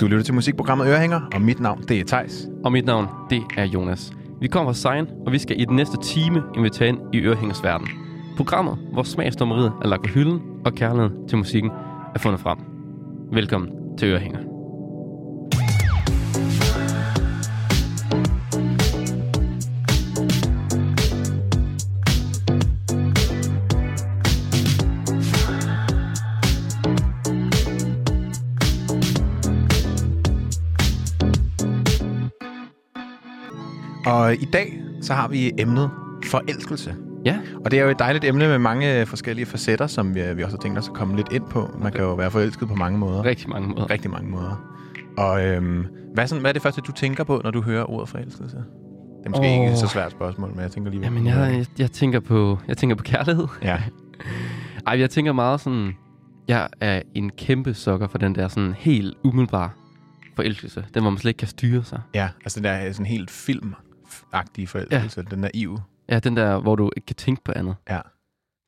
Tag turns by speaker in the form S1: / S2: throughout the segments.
S1: Du lytter til musikprogrammet Ørehænger, og mit navn det er Tejs.
S2: Og mit navn, det er Jonas. Vi kommer fra Sein, og vi skal i den næste time invitere ind i Ørehængers verden. Programmet, hvor smagsdommeriet er lagt på hylden, og kærligheden til musikken er fundet frem. Velkommen til Ørehænger.
S1: Og i dag så har vi emnet forelskelse.
S2: Ja.
S1: Og det er jo et dejligt emne med mange øh, forskellige facetter, som vi, vi også har tænkt os at komme lidt ind på. Man kan jo være forelsket på mange måder.
S2: Rigtig mange måder.
S1: Rigtig mange måder. Og øhm, hvad, er sådan, hvad er det første, du tænker på, når du hører ordet forelskelse? Det er måske oh.
S2: Åh.
S1: ikke et så svært spørgsmål, men jeg tænker lige...
S2: Jamen, jeg, jeg, jeg, tænker på, jeg tænker på kærlighed.
S1: Ja.
S2: Ej, jeg tænker meget sådan... Jeg er en kæmpe sokker for den der sådan helt umiddelbare forelskelse. Den, hvor man slet ikke kan styre sig.
S1: ja, altså den der sådan helt filmagtige forelskelse, ja. den naive.
S2: Ja, den der, hvor du ikke kan tænke på andet.
S1: Ja.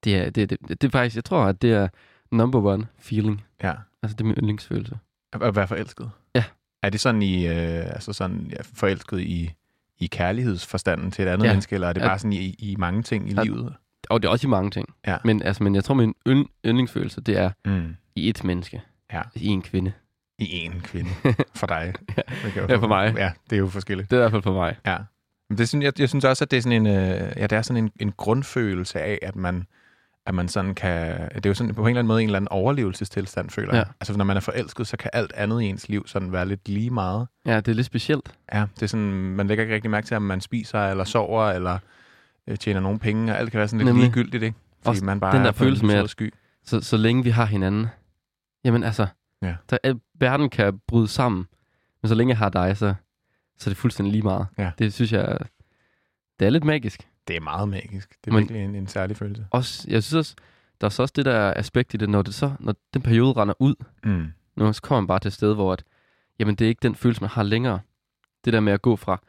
S2: Det er, det, det, det, det er faktisk, jeg tror, at det er number one feeling.
S1: Ja.
S2: Altså, det er min yndlingsfølelse.
S1: At, at være forelsket?
S2: Ja.
S1: Er det sådan i, øh, altså sådan, ja, forelsket i, i kærlighedsforstanden til et andet ja.
S2: Ja.
S1: menneske, eller er det
S2: At-
S1: bare sådan i, i mange ting i
S2: At-
S1: livet?
S2: Og det er også i mange ting.
S1: Ja.
S2: Men, altså, men jeg tror, min ynd, yndlingsfølelse, det er
S1: Mm.
S2: i et menneske.
S1: Ja.
S2: I en kvinde.
S1: I én kvinde. For dig. Det kan jo-
S2: Ja, for mig.
S1: Ja, det er jo forskelligt.
S2: Det er i hvert fald for mig.
S1: Ja. Men det synes, jeg, jeg synes også, at det er sådan en, øh, ja, det er sådan en, en grundfølelse af, at man, at man sådan kan... Det er jo sådan, på en eller anden måde en eller anden overlevelsestilstand, føler
S2: Ja.
S1: jeg. Altså, når man er forelsket, så kan alt andet i ens liv sådan være lidt lige meget.
S2: Ja, det er lidt specielt.
S1: Ja, det er sådan, man lægger ikke rigtig mærke til, om man spiser, eller sover, eller øh, tjener nogle penge, og alt kan være sådan lidt Nemlig.
S2: Nemlig.
S1: ligegyldigt, ikke? Fordi
S2: Også
S1: man bare
S2: den
S1: er
S2: der
S1: på en
S2: følelse med,
S1: fed
S2: at-
S1: sky.
S2: Så, så længe vi har hinanden. Jamen altså,
S1: Ja.
S2: der, er- verden kan bryde sammen. Men så længe jeg har dig, så, så er det fuldstændig lige meget.
S1: Ja.
S2: Det synes jeg, det er lidt magisk.
S1: Det er meget magisk. Det er
S2: Men-
S1: virkelig en, en særlig følelse.
S2: Også, jeg synes også, der er så også det der aspekt i det, når, det så, når den periode render ud,
S1: Mm.
S2: Nu så kommer man bare til et sted, hvor at, jamen, det er ikke den følelse, man har længere. Det der med at gå fra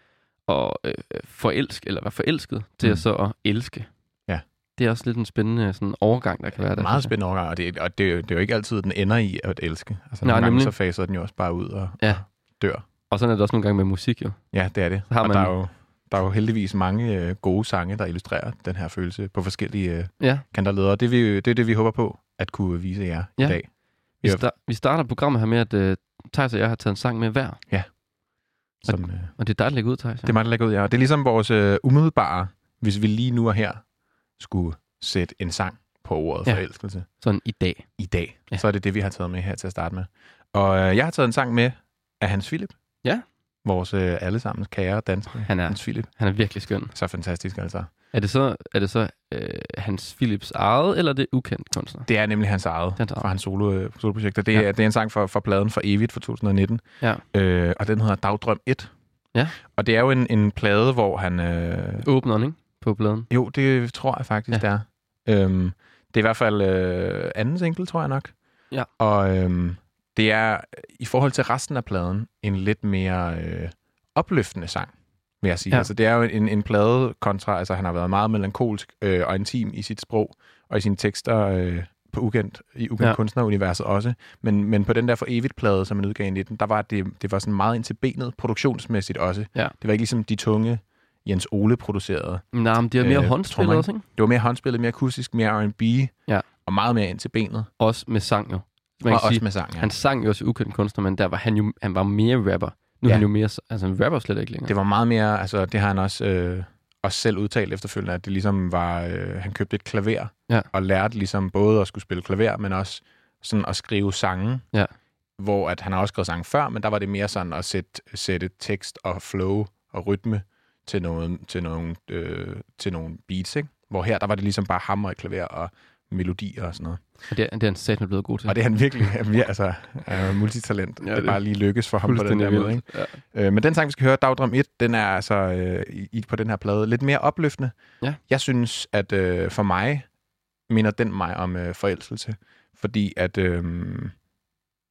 S2: at øh, forelske, eller være forelsket, til
S1: Mm.
S2: mm. at så at elske.
S1: Ja.
S2: Det er også lidt en spændende sådan, overgang, der kan være der.
S1: Meget
S2: synes jeg.
S1: spændende overgang, og, det, og det, er jo- det er jo ikke altid, den ender i at elske. Altså,
S2: Nej,
S1: nogle gange
S2: nemlig.
S1: så faser den jo også bare ud og,
S2: Ja.
S1: og dør.
S2: Og sådan er det også nogle gange med musik, jo.
S1: Ja, det er det.
S2: Så har
S1: og
S2: man-
S1: der, er jo, der er jo heldigvis mange øh, gode sange, der illustrerer den her følelse på forskellige øh,
S2: Ja.
S1: kanterleder. Og Det, er vi, det er det, vi håber på at kunne vise jer i
S2: Ja.
S1: dag.
S2: Vi,
S1: Ja.
S2: star- vi starter programmet her med, at øh, Thijs og jeg har taget en sang med hver.
S1: Som, øh,
S2: Og det er dig, der lægger ud, Thijs.
S1: Det er mig, der lægger ud, ja. Og Det er ligesom vores øh, umiddelbare, hvis vi lige nu og her skulle sætte en sang på ordet ja.
S2: Ja.
S1: forelskelse
S2: Sådan i dag.
S1: i dag. Ja.
S2: Ja.
S1: Så er det det, vi har taget med her til at starte med. Og øh, jeg har taget en sang med af Hans Philip.
S2: Ja.
S1: Vores øh, allesammens kære danske
S2: Han er,
S1: Hans Philip.
S2: han er virkelig skøn.
S1: Så fantastisk altså.
S2: Er det så, er det så øh, Hans Philips eget, eller er det ukendt kunstner?
S1: Det er nemlig hans eget
S2: Den tager.
S1: fra hans solo, øh, soloprojekter. Det, ja.
S2: Ja.
S1: det er en sang fra, fra pladen for evigt fra 2019.
S2: Ja.
S1: Øh, og den hedder Dagdrøm 1.
S2: Ja.
S1: Og det er jo en, en plade, hvor han... Øh,
S2: Åbneren, ikke? På pladen.
S1: Jo, det tror jeg faktisk, ja. det er. Øhm, det er i hvert fald øh, anden single, tror jeg nok.
S2: Ja.
S1: Og øhm, det er i forhold til resten af pladen en lidt mere øh, opløftende sang, vil jeg sige. Ja.
S2: Ja.
S1: Altså, det er jo en, en plade kontra, altså han har været meget melankolsk øh, og intim i sit sprog og i sine tekster øh, på ukendt, i ukendt ja.
S2: Ja.
S1: kunstneruniverset også. Men, men på den der for evigt plade, som han udgav i 19, der var det, det var sådan meget ind til benet, produktionsmæssigt også.
S2: Ja.
S1: Det var ikke ligesom de tunge Jens Ole producerede
S2: Nej, men det er mere
S1: Øh,
S2: øh,
S1: trommer,
S2: håndspillet også, ikke?
S1: det var mere håndspillet, mere akustisk, mere R&B,
S2: Ja.
S1: og meget mere ind til benet,
S2: Også med sang jo. Man
S1: og
S2: kan sige,
S1: også med sang. Ja.
S2: ja. han sang jo også i ukendt kunstner, men der var han jo han var mere rapper. Nu
S1: Ja.
S2: er han jo mere, altså han rapper slet ikke længere.
S1: Det var meget mere, altså det har han også, øh, også selv udtalt efterfølgende, at det ligesom var, øh, han købte et klaver,
S2: Ja.
S1: og lærte ligesom både at skulle spille klaver, men også sådan at skrive sange,
S2: Ja.
S1: hvor at han har også skrevet sange før, men der var det mere sådan at sætte, sætte tekst og flow og rytme til, noget, til, nogle, øh, til nogle beats, ikke? Hvor her, der var det ligesom bare hammer og klaver og melodier og sådan noget.
S2: Og det, er- det er han satme blevet god til.
S1: Og det er han virkelig. Han er, altså, er jo multitalent. Ja,
S2: Ja,
S1: det, det
S2: det-
S1: bare lige lykkes for ham på den der
S2: vildt.
S1: måde. Ikke?
S2: Ja.
S1: Øh, men den sang, vi skal høre, Dagdrøm 1, den er altså øh, i, i- på den her plade lidt mere opløftende.
S2: Ja.
S1: Jeg synes, at øh, for mig minder den mig om øh, forelskelse. Fordi at, øh,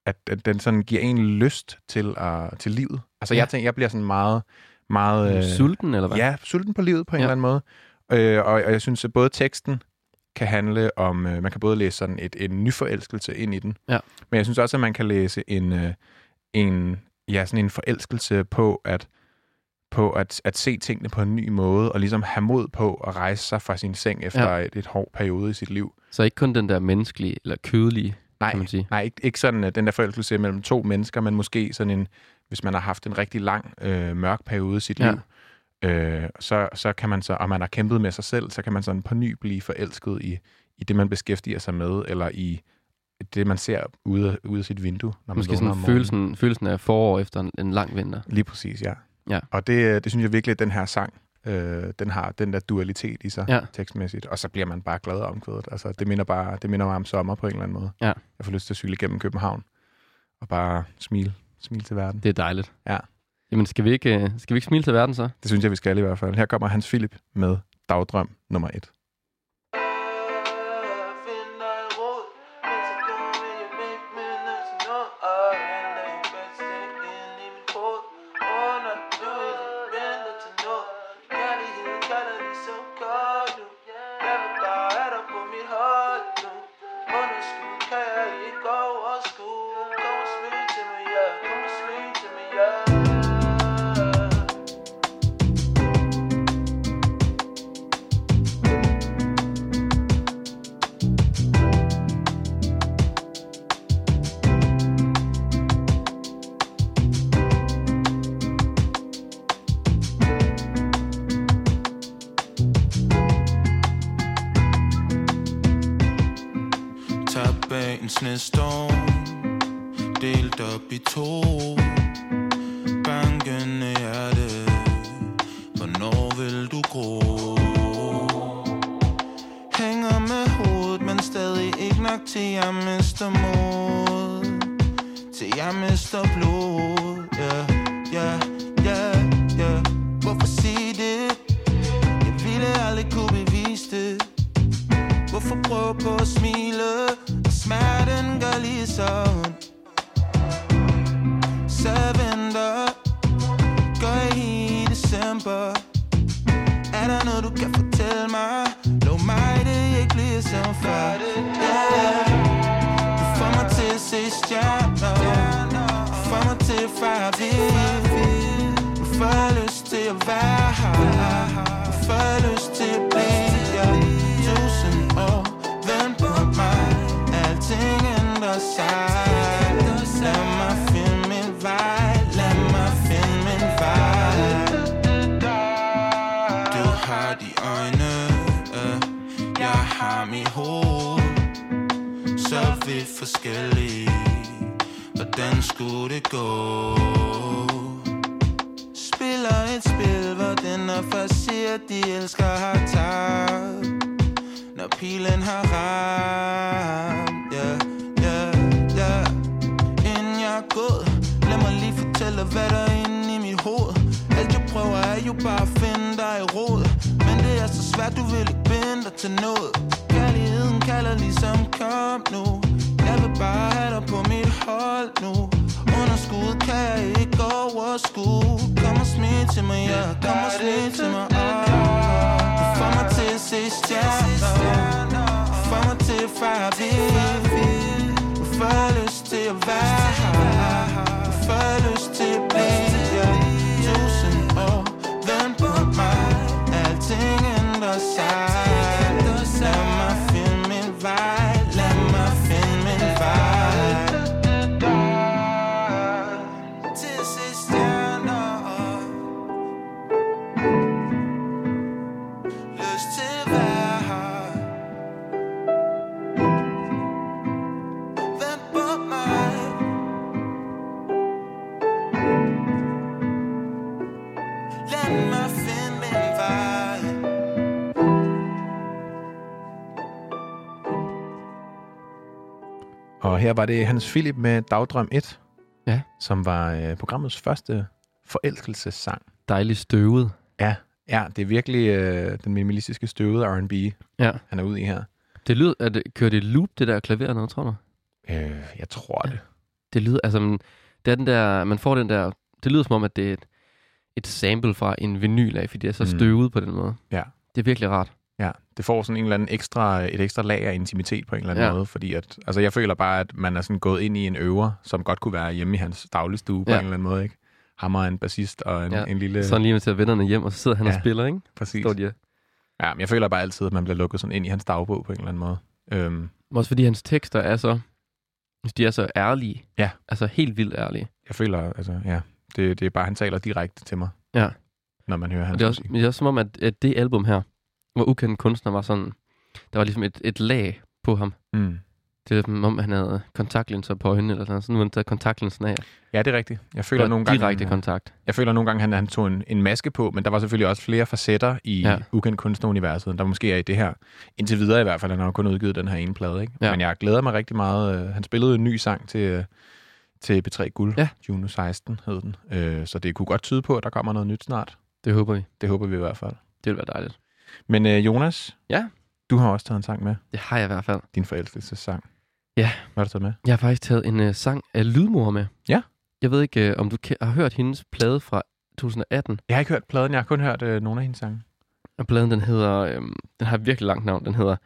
S1: at, at den sådan giver en lyst til, at, til livet. Altså
S2: Ja.
S1: jeg tænker, jeg bliver sådan meget... meget øh,
S2: Sulten, eller hvad?
S1: Ja, sulten på livet på en ja.
S2: Ja.
S1: eller anden måde. Øh, og, og jeg synes, at både teksten kan handle om, øh, man kan både læse sådan et, en nyforelskelse ind i den,
S2: Ja.
S1: men jeg synes også, at man kan læse en, øh, en, ja, sådan en forelskelse på at, på at, at se tingene på en ny måde, og ligesom have mod på at rejse sig fra sin seng efter ja. et, et hård periode i sit liv.
S2: Så ikke kun den der menneskelige eller kødelige,
S1: Nej,
S2: kan man sige.
S1: nej ikke, ikke sådan øh, den der forelskelse mellem to mennesker, men måske sådan en, hvis man har haft en rigtig lang, øh, mørk periode i sit
S2: Ja.
S1: ja. liv, øh, så, så kan man så, og man har kæmpet med sig selv, så kan man sådan på ny blive forelsket i, i det, man beskæftiger sig med, eller i det, man ser ude, af- ude af sit vindue, når man
S2: Måske
S1: vågner
S2: sådan
S1: om morgenen.
S2: følelsen, følelsen af forår efter en, en lang vinter.
S1: Lige præcis, ja.
S2: Ja.
S1: Og det, det synes jeg virkelig, at den her sang, øh, den har den der dualitet i sig
S2: Ja.
S1: ja. tekstmæssigt. Og så bliver man bare glad om kvædet. Altså, det minder, bare, det minder mig om sommer på en eller anden måde.
S2: Ja.
S1: Jeg får lyst til at cykle gennem København og bare smile, smile til verden.
S2: Det er dejligt.
S1: Ja.
S2: Jamen, skal vi ikke, øh, skal vi ikke smile til verden så?
S1: Det synes jeg, vi skal i hvert fald. Her kommer Hans Philip med Dagdrøm nummer et.
S3: uh,
S4: Yeah.
S3: Tag banens næste år Delt op i to Bankende hjerte Hvornår vil du gro? Hænger med hovedet, men stadig ikke nok til jeg mister mod Til jeg mister blod Ja, ja, ja, ja Hvorfor sige det? Jeg ville aldrig kunne bevise det Hvorfor prøve på at smile Og smerten gør ligesom. lige så ondt Så jeg venter Gør jeg i december Er der noget du kan fortælle mig Lov mig det ikke bliver som før yeah. Du får mig til at se stjerner Du får mig til at fejre vild Du får lyst til at være her Du får lyst til at blive her Tusind år Vent på mig Alting ændrer sig Lad mig finde min vej Lad mig finde min vej Du har de øjne øh, Jeg har mit hoved så er vi forskellige Hvordan skulle det gå? Spiller et spil, hvor den er først siger, de elsker har tabt Når pilen har ramt, ja, ja, ja Inden jeg er gået, lad mig lige fortælle, hvad der er inde i mit hoved Alt jeg prøver er jo bare at finde dig i rod Men det er så svært, du vil ikke binde dig til noget Kærligheden kalder ligesom kom nu Jeg vil bare have dig på mit hold nu Underskud kan jeg ikke overskue Kom og smil til mig, ja, kom og smil til mig ah. Du får mig til at se stjerner Du får mig til at fejre vild Du får lyst til at være her Du får lyst til at blive ja. Tusind år, vent på mig Alting ændrer sig Lad mig finde min vej Lad mig finde min vej Til at se stjerner lyst til at være her Vent på mig Lad mig finde min vej
S1: Og her var det Hans Philip med Dagdrøm 1,
S2: Ja.
S1: som var øh, programmets første forelskelsessang.
S2: Dejligt støvet.
S1: Ja. Ja, det er virkelig øh, den minimalistiske støvede R&B,
S2: Ja.
S1: han er ude i her.
S2: Det lyder, at det, kører det loop, det der klaver noget, tror du?
S1: Øh, jeg tror det.
S2: Det lyder, altså, men det er den der, man får den der, det lyder som om, at det er et, et sample fra en vinyl af, fordi det er så
S1: Mm.
S2: støvet på den måde.
S1: Ja.
S2: Det er virkelig rart.
S1: Ja, det får sådan en eller anden ekstra, et ekstra lag af intimitet på en eller anden
S2: Ja.
S1: ja. måde, fordi at, altså jeg føler bare, at man er sådan gået ind i en øver, som godt kunne være hjemme i hans dagligstue på
S2: Ja.
S1: en eller anden måde, ikke? Ham og en bassist og en,
S2: Ja.
S1: ja. en lille...
S2: Så er han lige med til at vennerne hjem, og så sidder han og
S1: Ja.
S2: spiller, ikke?
S1: præcis.
S2: Står de og-
S1: Ja, men jeg føler bare altid, at man bliver lukket sådan ind i hans dagbog på en eller anden måde. Øhm,
S2: Men Også fordi hans tekster er så, de er så ærlige.
S1: Ja.
S2: Altså helt vildt ærlige.
S1: jeg føler, altså ja, det, det er bare, han taler direkte til mig,
S2: Ja.
S1: når man hører
S2: Og
S1: hans
S2: det er, også,
S1: musik.
S2: men det er også som om, at, at det album her, hvor ukendt kunstner var sådan, der var ligesom et, et lag på ham.
S1: Mm.
S2: Det er som om, han havde kontaktlinser på øjnene, eller sådan noget. Sådan, hvor han tager kontaktlinsen af.
S1: Ja, det er rigtigt. Jeg føler,
S2: Føler
S1: nogle gange,
S2: direkte kontakt.
S1: jeg føler nogle gange, han, han tog en, en maske på, men der var selvfølgelig også flere facetter i
S2: Ja.
S1: ja. ukendt kunstneruniverset, end der måske er i det her. Indtil videre i hvert fald, han har jo kun udgivet den her ene plade. Ikke?
S2: Ja.
S1: Ja. Men jeg glæder mig rigtig meget. Øh, Han spillede en ny sang til, øh, til P3 Guld,
S2: Ja.
S1: ja. Juno 16 hed den. Øh, Så det kunne godt tyde på, at der kommer noget nyt snart.
S2: Det håber vi.
S1: Det håber vi i hvert fald.
S2: Det vil være dejligt.
S1: Men øh, Jonas,
S2: Ja?
S1: du har også taget en sang med.
S2: Det har jeg i hvert fald.
S1: Din forelskelsessang.
S2: Ja.
S1: Hvad har du taget med?
S2: Jeg har faktisk taget en uh, sang af Lydmor med.
S1: Ja.
S2: Jeg ved ikke, uh, om du ke- har hørt hendes plade fra 2018.
S1: Jeg har ikke hørt pladen, jeg har kun hørt øh, nogle af hendes sange.
S2: Og pladen, den hedder, øh, den har et virkelig langt navn. Den hedder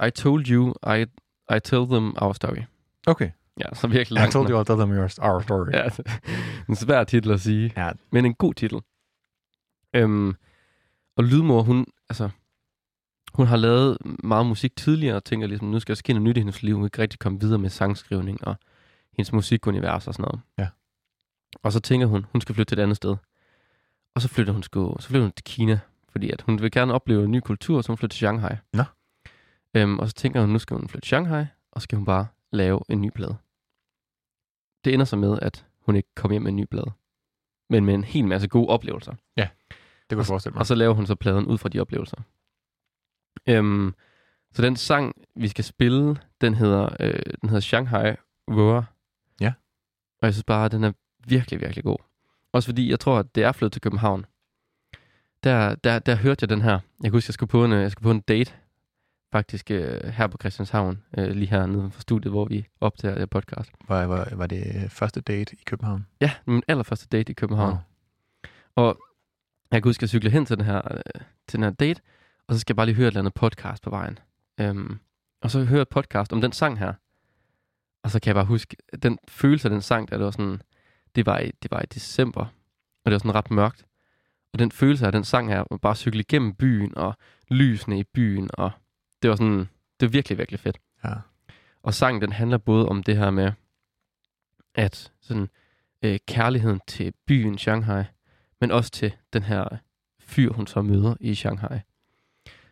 S2: uh, I Told You, I, I Tell Them Our Story.
S1: Okay.
S2: Ja, så virkelig
S1: I
S2: langt
S1: told
S2: navn.
S1: you all that I'm yours. Our story.
S2: Ja, altså, en svær titel at sige.
S1: Ja.
S2: Men en god titel. Øhm, og Lydmor, hun, altså, hun har lavet meget musik tidligere, og tænker ligesom, nu skal jeg ske noget nyt i hendes liv. Hun kan ikke rigtig komme videre med sangskrivning og hendes musikunivers og sådan noget.
S1: Ja.
S2: Og så tænker hun, hun skal flytte til et andet sted. Og så flytter hun, sgu, så flytter hun til Kina, fordi at hun vil gerne opleve en ny kultur, så hun flytter til Shanghai.
S1: Nå.
S2: Øhm, og så tænker hun, nu skal hun flytte til Shanghai, og så skal hun bare lave en ny plade. Det ender så med, at hun ikke kommer hjem med en ny plade, men med en hel masse gode oplevelser.
S1: Det kunne jeg forestille mig.
S2: Og så laver hun så pladen ud fra de oplevelser. Øhm, så den sang, vi skal spille, den hedder, øh, den hedder Shanghai Roar.
S1: Ja.
S2: Og jeg synes bare, at den er virkelig, virkelig god. Også fordi, jeg tror, at det er flyttet til København. Der, der, der hørte jeg den her. Jeg kan huske, jeg skulle på en, øh, jeg skulle på en date, faktisk øh, her på Christianshavn, øh, lige her nede for studiet, hvor vi optager det her podcast.
S1: Var, var, var det øh, første date i København?
S2: Ja, min allerførste date i København.
S1: Wow.
S2: Jeg kan huske, at jeg cyklede hen til den, her, øh, til den her date, og så skal jeg bare lige høre et eller andet podcast på vejen. Øhm, og så høre et podcast om den sang her. Og så kan jeg bare huske, at den følelse af den sang, der det var sådan, det var i, det var i december, og det var sådan ret mørkt. Og den følelse af den sang her, at bare cykle igennem byen, og lysene i byen, og det var sådan, det var virkelig, virkelig fedt.
S1: Ja.
S2: Og sangen, den handler både om det her med, at sådan, øh, kærligheden til byen Shanghai, men også til den her fyr, hun så møder i Shanghai.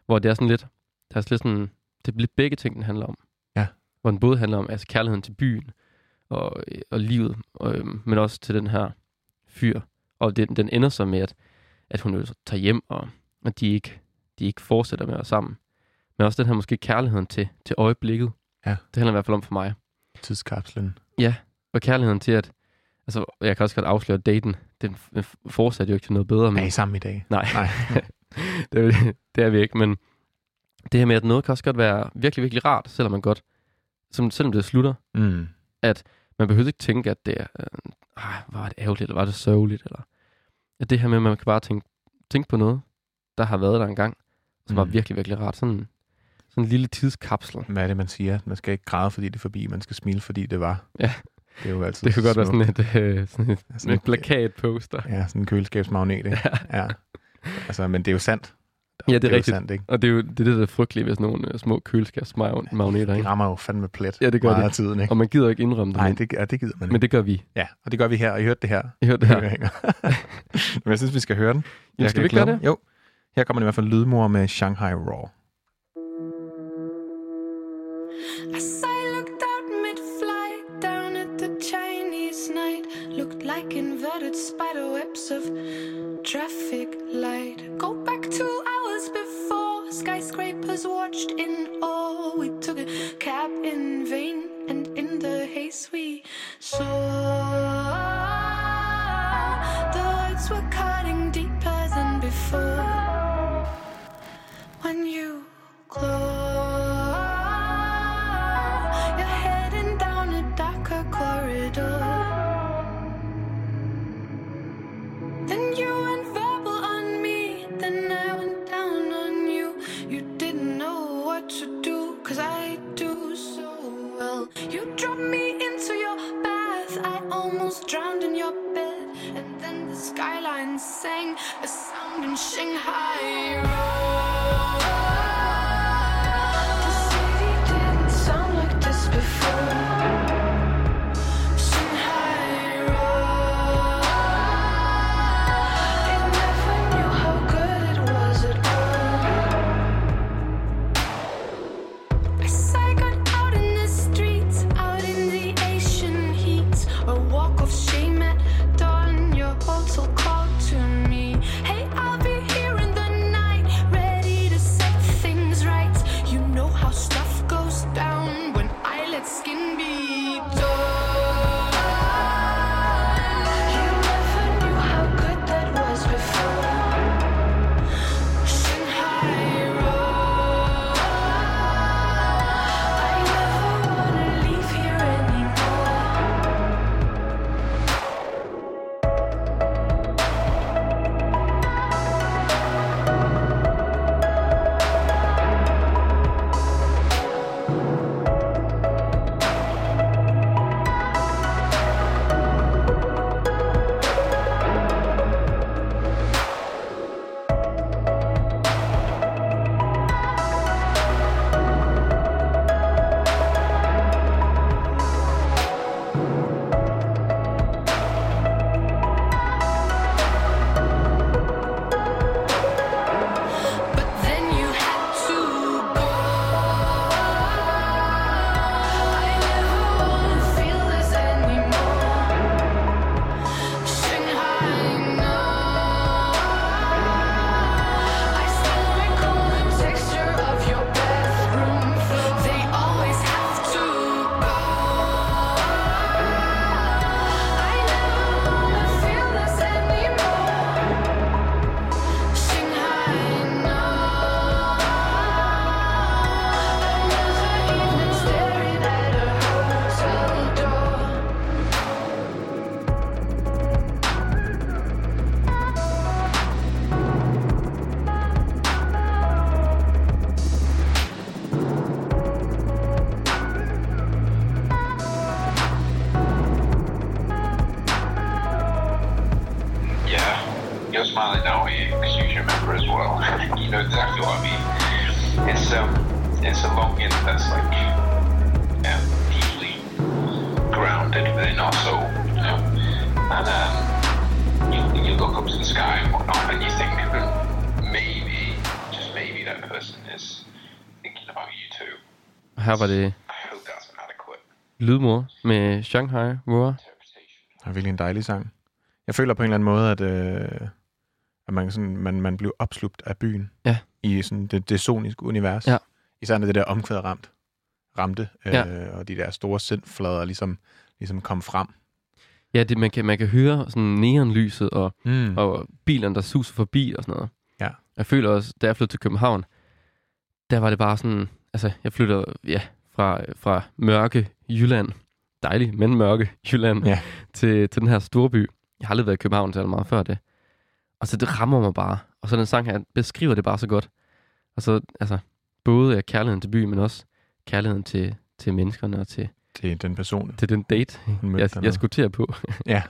S2: Hvor det er sådan lidt, der er sådan lidt sådan, det er lidt begge ting, den handler om.
S1: Ja.
S2: Hvor den både handler om altså kærligheden til byen og, øh, og livet, og, øhm, men også til den her fyr. Og den, den ender så med, at, at hun jo så tager hjem, og, og de, ikke, de ikke fortsætter med at være sammen. Men også den her måske kærligheden til, til øjeblikket.
S1: Ja.
S2: Det handler i hvert fald om for mig.
S1: Tidskapslen.
S2: Og kærligheden til at, altså jeg kan også godt afsløre at daten, den f- f- fortsatte jo ikke til noget bedre. Men,
S1: Er I sammen i dag?
S2: Nej.
S1: Nej.
S2: det, er, vi- det er vi ikke, men det her med, at noget kan også godt være virkelig, virkelig rart, selvom man godt, som, selvom det slutter.
S1: Mm.
S2: Man behøver ikke tænke, at det er, øh, "Ej, var det ærgerligt, eller var det sørgeligt, eller at det her med, at man kan bare tænke, tænke på noget, der har været der engang, som mm. var
S1: Mm.
S2: virkelig, virkelig rart. Sådan, sådan en lille tidskapsel.
S1: Hvad er det, man siger? Man skal ikke græde, fordi det er forbi. Man skal smile, fordi det var.
S2: Ja.
S1: Det er jo altid
S2: Det kan godt være
S1: smukt.
S2: sådan et, øh, sådan et, sådan et plakatposter.
S1: Ja, sådan en køleskabsmagnet, ikke? ja. Altså, men det er jo sandt.
S2: Ja, det er
S1: jo
S2: rigtigt.
S1: sandt, ikke?
S2: Og det er jo det, er det der er frygteligt ved sådan nogle øh, små køleskabsmagneter,
S1: Det
S2: ikke?
S1: rammer jo fandme plet
S2: Ja, det gør
S1: meget
S2: det.
S1: af tiden, ikke?
S2: Og man gider ikke indrømme det,
S1: Nej,
S2: men,
S1: det, ja, det gider man
S2: men
S1: ikke.
S2: det gør vi.
S1: Ja, og det gør vi her, og I hørte det her.
S2: I hørte det her.
S1: Høringer. men jeg synes, vi skal høre den.
S2: Jamen,
S1: Jeg
S2: skal vi ikke
S1: kan
S2: gøre
S1: glæde
S2: det?
S1: mig. Jo. Her kommer det i hvert fald lydmor med Shanghai Raw.
S5: As I looked out mid flight down at the Chinese night, looked like inverted spider webs of traffic light. Go back two hours before skyscrapers watched in awe. We took a cab in vain, and in the haze we saw the lights were cutting deeper than before when you close you're heading down a darker corridor then you went verbal on me then i went down on you you the skyline sang a sound in Shanghai. roar. The city didn't sound like this before. Shanghai roar. They never knew how good it was at war. As I got out in the streets, out in the Asian heat, a walk of shame at dawn, your hotel called to me. Hey, I'll be here in the night, ready to set things right. You know how stuff goes down when I let skin be torn. You never knew how good that was before. Shanghai roar. I never wanna leave here anymore. But then you had to go. I never wanna feel this anymore. Shanghai, no. I still recall the texture of your bathroom floor. They always have to go. I never wanna feel this anymore. Shanghai, no. Another evening staring at a hotel door.
S6: Yeah, you're smiling now because you remember as well. you know exactly what I mean. It's um, it's a longing that's like um, deeply grounded within our soul, you know. And um, you, you look up to the sky and whatnot, and you think "Hmm, maybe, just maybe, that person is thinking about you too.
S2: Og her var det
S6: I hope that's an adequate
S2: Lydmor med Shanghai Roar.
S6: interpretation.
S1: Det er virkelig en dejlig sang. Jeg føler på en eller anden måde, at, øh, at man, sådan, man, man blev opslugt af byen
S2: Ja.
S1: i sådan det, det soniske univers.
S2: Ja.
S1: Især når det der omkvæd ramt, ramte, øh,
S2: Ja.
S1: og de der store sindflader ligesom, ligesom kom frem.
S2: Ja, det, man, kan, man kan høre sådan neonlyset og,
S1: Mm.
S2: og bilerne, der suser forbi og sådan noget.
S1: Ja.
S2: Jeg føler også, da jeg flyttede til København, der var det bare sådan, altså jeg flyttede ja, fra, fra mørke Jylland, dejlig, men mørke Jylland,
S1: Ja.
S2: til, til den her storby. Jeg har aldrig været i København særlig meget før det. Og så det rammer mig bare. Og så den sang her beskriver det bare så godt. Og så, altså, både kærligheden til byen, men også kærligheden til, til menneskerne og til,
S1: Det er den person,
S2: til den date,
S1: hun mødte
S2: jeg,
S1: dernede.
S2: jeg skulle til at på.
S1: Ja.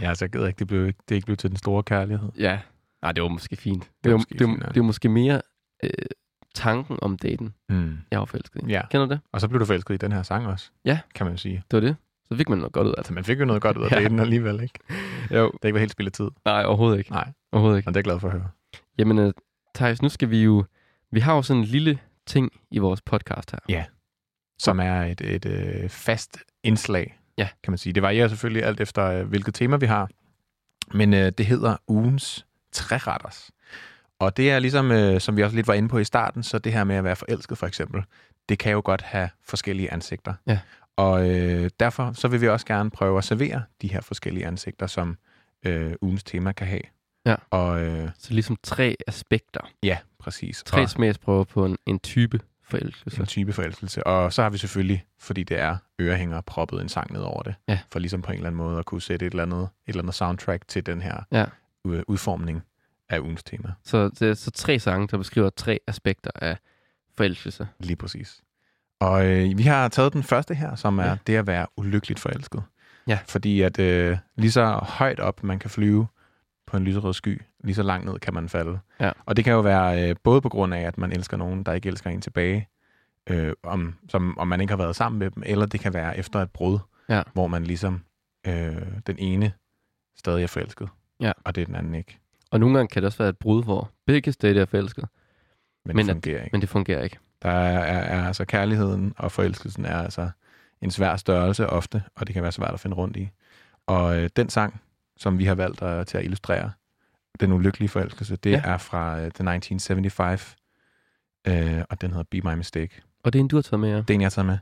S1: ja, altså, jeg gider ikke, det blev, det er ikke blev til den store kærlighed.
S2: Ja. Nej, det var måske fint. Det,
S1: var
S2: var,
S1: måske
S2: det, var,
S1: fint, ja.
S2: det var måske mere øh, tanken om daten,
S1: Mm.
S2: jeg var forelsket i.
S1: Ja.
S2: Kender du det?
S1: Og så blev du forelsket i den her sang også,
S2: Ja.
S1: kan man jo sige.
S2: Det var det. Så fik man noget godt ud af
S1: Altså, man fik jo noget godt ud af
S2: Ja.
S1: daten alligevel, ikke?
S2: det. Jo.
S1: Det er ikke helt spillet tid,
S2: Nej, overhovedet ikke.
S1: Nej.
S2: Overhovedet
S1: og
S2: ikke.
S1: det er jeg glad for at høre.
S2: Jamen, øh, Thijs, nu skal vi jo... Vi har jo sådan en lille ting i vores podcast her.
S1: som er et, et øh, fast indslag,
S2: Ja.
S1: kan man sige. Det varierer selvfølgelig alt efter, øh, hvilket tema vi har, men øh, det hedder ugens træretters. Og det er ligesom, øh, som vi også lidt var inde på i starten, så det her med at være forelsket for eksempel, det kan jo godt have forskellige ansigter.
S2: Ja.
S1: Og øh, derfor så vil vi også gerne prøve at servere de her forskellige ansigter, som øh, ugens tema kan have.
S2: Ja.
S1: Og øh,
S2: Så ligesom tre aspekter.
S1: ja, præcis.
S2: Tre
S1: og,
S2: smagsprøver på en, en type forelskelse.
S1: en type forelskelse. Og så har vi selvfølgelig, fordi det er ørehænger, proppet en sang ned over det.
S2: Ja.
S1: For ligesom på en eller anden måde at kunne sætte et eller andet, et eller andet soundtrack til den her
S2: Ja.
S1: u- udformning af ugens tema.
S2: Så, så, så tre sange, der beskriver tre aspekter af forelskelse.
S1: Lige præcis. Og øh, vi har taget den første her, som er
S2: Ja.
S1: det at være ulykkeligt forelsket.
S2: Ja.
S1: Fordi at øh, lige så højt op man kan flyve på en lyserød sky, lige så langt ned kan man falde.
S2: Ja.
S1: Og det kan jo være øh, både på grund af, at man elsker nogen, der ikke elsker en tilbage, øh, om, som, om man ikke har været sammen med dem, eller det kan være efter et brud,
S2: Ja.
S1: hvor man ligesom øh, den ene stadig er forelsket,
S2: Ja.
S1: og det er den anden ikke.
S2: Og nogle gange kan det også være et brud, hvor begge stadig er forelsket,
S1: Men,
S2: Men
S1: men
S2: at-
S1: det fungerer ikke.
S2: men det fungerer ikke.
S1: Der er, er, er altså kærligheden og forelskelsen er altså en svær størrelse ofte, og det kan være svært at finde rundt i. Og øh, den sang, som vi har valgt øh, til at illustrere den ulykkelige forelskelse, det
S2: Ja.
S1: ja. er fra øh, The 1975, øh, og den hedder Be My Mistake.
S2: Og det er en, du har taget med jer.
S1: Det er en, jeg har taget med.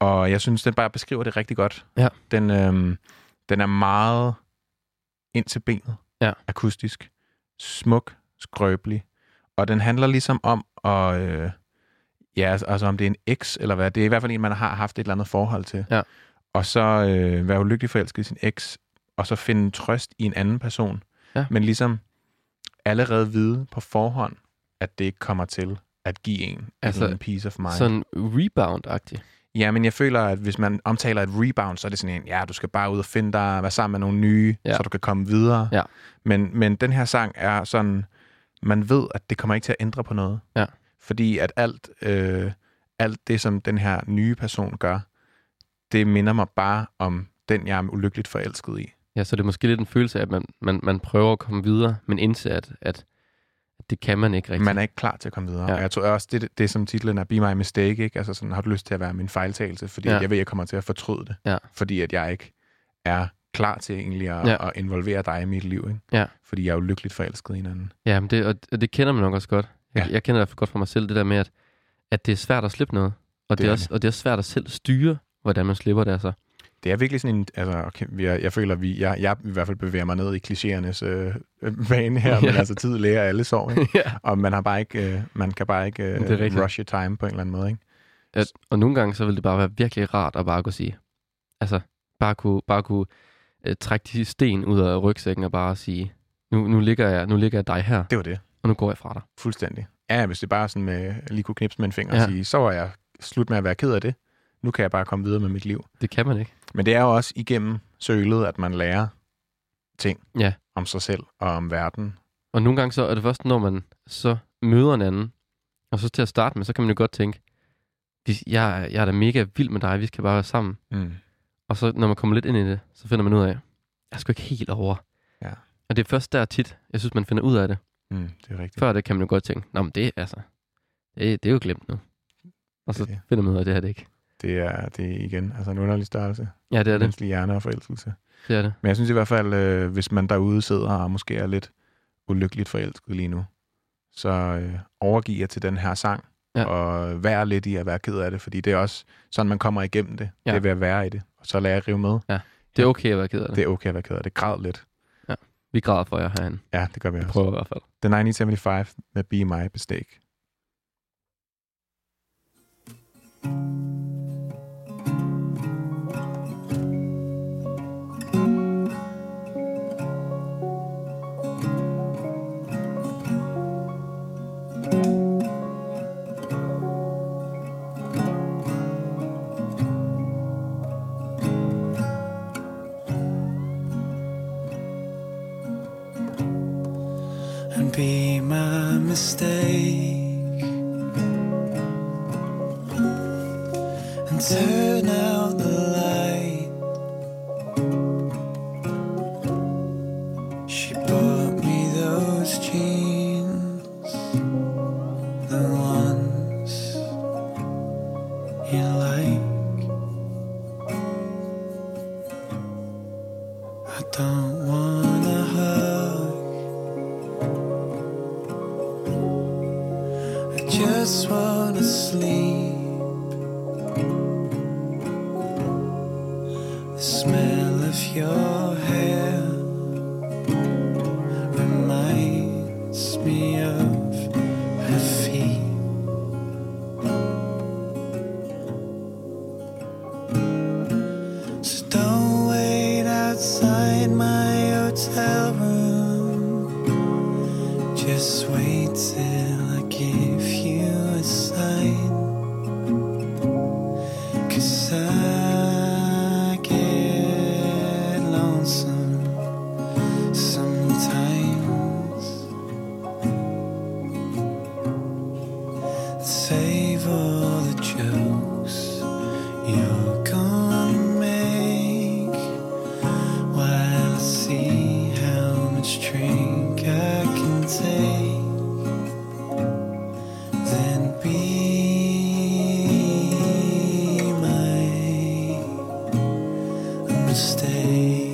S1: Og jeg synes, den bare beskriver det rigtig godt.
S2: Ja.
S1: Den, øh, den er meget ind til benet.
S2: Ja.
S1: Akustisk. Smuk. Skrøbelig. Og den handler ligesom om at... Øh, ja, altså- altså om det er en eks eller hvad. Det er i hvert fald en, man har haft et eller andet forhold til.
S2: Ja.
S1: Og så øh, være ulykkelig forelsket i sin eks, og så finde trøst i en anden person.
S2: Ja.
S1: Men ligesom allerede vide på forhånd, at det ikke kommer til at give en
S2: Altså,
S1: altså, en piece of mind.
S2: Sådan rebound-agtig.
S1: Ja, men jeg føler, at hvis man omtaler et rebound, så er det sådan en, ja, du skal bare ud og finde dig, være sammen med nogle nye,
S2: Ja.
S1: ja. så du kan komme videre.
S2: Ja.
S1: Men, men den her sang er sådan, man ved, at det kommer ikke til at ændre på noget.
S2: Ja.
S1: Fordi at alt, øh, alt det, som den her nye person gør, det minder mig bare om den, jeg er ulykkeligt forelsket i.
S2: Ja, så det er måske lidt en følelse af, at man, man, man prøver at komme videre, men indser, at, at det kan man ikke rigtigt.
S1: Man er ikke klar til at komme videre.
S2: Ja.
S1: Ja. Og jeg tror også, det, det som titlen er, Be My Mistake, ikke? Altså sådan, har du lyst til at være min fejltagelse? Fordi
S2: Ja.
S1: ja. jeg ved, jeg kommer til at fortryde det.
S2: Ja.
S1: Fordi at jeg ikke er klar til egentlig at,
S2: Ja.
S1: ja. at involvere dig i mit liv, ikke?
S2: Ja.
S1: Fordi jeg er jo lykkeligt forelsket i hinanden.
S2: Ja, men det, og, og det kender man nok også godt. Jeg, ja.
S1: Ja.
S2: jeg kender i hvert fald godt fra mig selv det der med, at, at det er svært at slippe noget. Og det,
S1: Det
S2: det, er
S1: er
S2: også, og det er også svært at selv styre, hvordan man slipper det altså.
S1: Det er virkelig sådan en... Altså, okay, jeg, jeg føler, vi, jeg, jeg i hvert fald bevæger mig ned i klichéernes øh, øh, vane her, men
S2: Ja.
S1: altså tid lærer alle sår, ikke?
S2: ja.
S1: Og man, har bare ikke, øh, man kan bare ikke
S2: Det er rigtigt.
S1: øh, rushe time på en eller anden måde, ikke?
S2: at, og nogle gange, så vil det bare være virkelig rart at bare kunne sige, altså bare kunne, bare kunne øh, trække de sten ud af rygsækken og bare sige, nu, nu, ligger jeg, nu ligger jeg dig her,
S1: Det var det.
S2: og nu går jeg fra dig.
S1: Fuldstændig. Ja, hvis det bare sådan med, lige kunne knipse med en finger ja.
S2: Ja.
S1: og sige, så var jeg slut med at være ked af det. Nu kan jeg bare komme videre med mit liv.
S2: Det kan man ikke.
S1: Men det er jo også igennem sølet, at man lærer ting
S2: Ja.
S1: om sig selv og om verden.
S2: Og nogle gange så er det først, når man så møder en anden, og så til at starte med, så kan man jo godt tænke, "Vi- jeg, er- jeg er da mega vild med dig, vi skal bare være sammen.
S1: Mm.
S2: Og så når man kommer lidt ind i det, så finder man ud af, jeg er sgu ikke helt over.
S1: Ja.
S2: Og det er først der tit, jeg synes, man finder ud af det.
S1: Mm, det er rigtigt.
S2: Før det kan man jo godt tænke, nå, men det, er altså, det, det er jo glemt nu. Og så
S1: Det er det.
S2: finder man ud af, det her det ikke.
S1: Det er, det er igen altså en underlig størrelse.
S2: Ja, det er det.
S1: Menneskelig hjerne og forelskelse.
S2: det, er det.
S1: Men jeg synes i hvert fald, øh, hvis man derude sidder og måske er lidt ulykkeligt forelsket lige nu, så øh, overgiv jer til den her sang.
S2: Ja.
S1: Ja. Og vær lidt i at være ked af det, fordi det er også sådan, man kommer igennem det.
S2: Ja.
S1: Ja. Det er ved at være i det. Og så lad jer rive med.
S2: Det er okay at være ked af det.
S1: Det er okay at være ked af det. Græd lidt.
S2: Vi græder for jer herinde.
S1: Ja, det gør vi også.
S2: Prøver i hvert fald.
S1: The 1975 med Be My Mistake.
S7: and be my mistake and turn out the light. She bought me those jeans, the ones you like. I don't wanna hug. I just wanna sleep. The smell of your hair reminds me of her feet. So don't wait outside my hotel room. Just wait till I give you a sign. Cause I get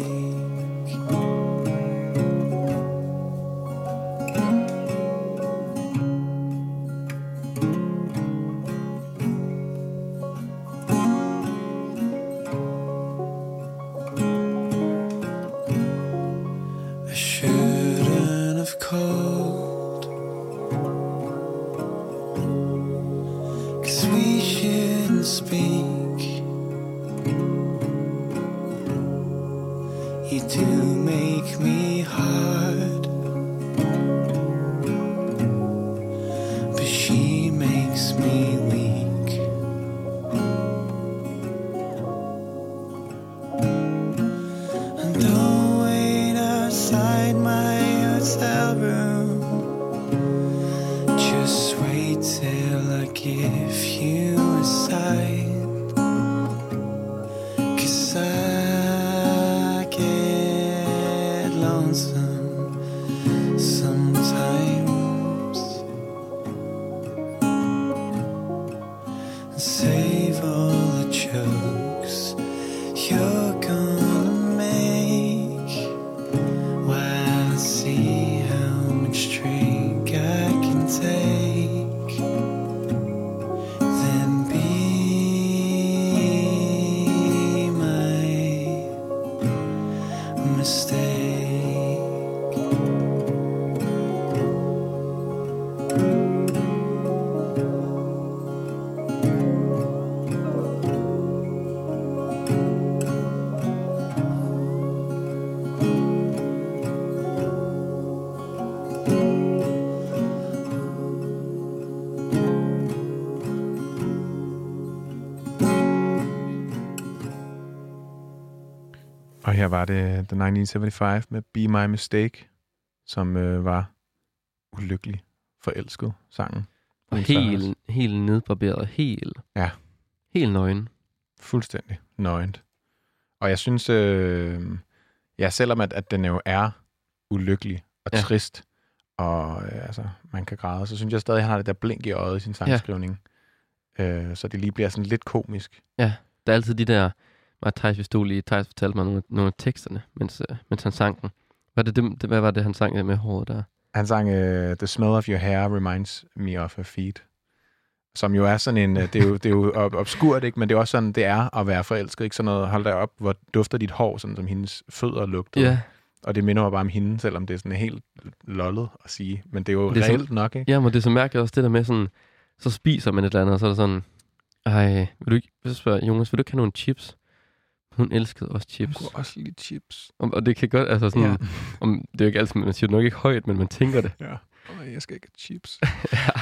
S7: mistake. I shouldn't have called. Cause we shouldn't speak. You do make me hard. But she makes me weak. And don't wait outside my hotel room. Just wait till I give you a sign. Cause I get lonesome sometimes. And save all the jokes you're gonna make while I see how much drink I can take. Then be my mistake.
S1: Og her var det The 1975 med Be My Mistake, som øh, var ulykkelig forelsket sangen.
S2: Og helt, helt nedbarberet, helt,
S1: Ja.
S2: helt nøgen.
S1: Fuldstændig nøgent. Og jeg synes, øh, ja, selvom at, at den jo er ulykkelig og
S2: Ja.
S1: ja. trist, og øh, altså, man kan græde, så synes jeg stadig, at han har det der blink i øjet i sin sangskrivning. Øh, så det lige bliver sådan lidt komisk.
S2: Der er altid de der, var Thijs, vi stod lige, Thijs fortalte mig nogle, nogle af teksterne, mens, øh, mens han sang den. Var det dem, det, hvad var det, han sang der med håret der?
S1: Han sang øh, The Smell of Your Hair Reminds Me of Her Feet, som jo er sådan en, øh, det er jo, det er jo ob- obskurt, ikke? men det er også sådan, det er at være forelsket, ikke? Sådan noget, hold da op, hvor dufter dit hår, sådan som hendes fødder lugtede.
S2: Ja,
S1: Og det minder mig bare om hende, selvom det er sådan helt lollet at sige. Men det er jo
S2: Det er
S1: det
S2: sådan-
S1: reelt nok, ikke?
S2: ja men det er så mærkeligt også det der med sådan, så spiser man et eller andet, og så er det sådan, ej, vil du ikke, så spørger jeg, Jonas, vil du ikke have nogle chips? Hun elskede også chips.
S1: også lige chips.
S2: Og, og det kan godt, altså sådan,
S1: Ja.
S2: ja. om, det er jo ikke altid, man siger det nok ikke højt, men man tænker det.
S1: Ja. Åh, jeg skal ikke have chips.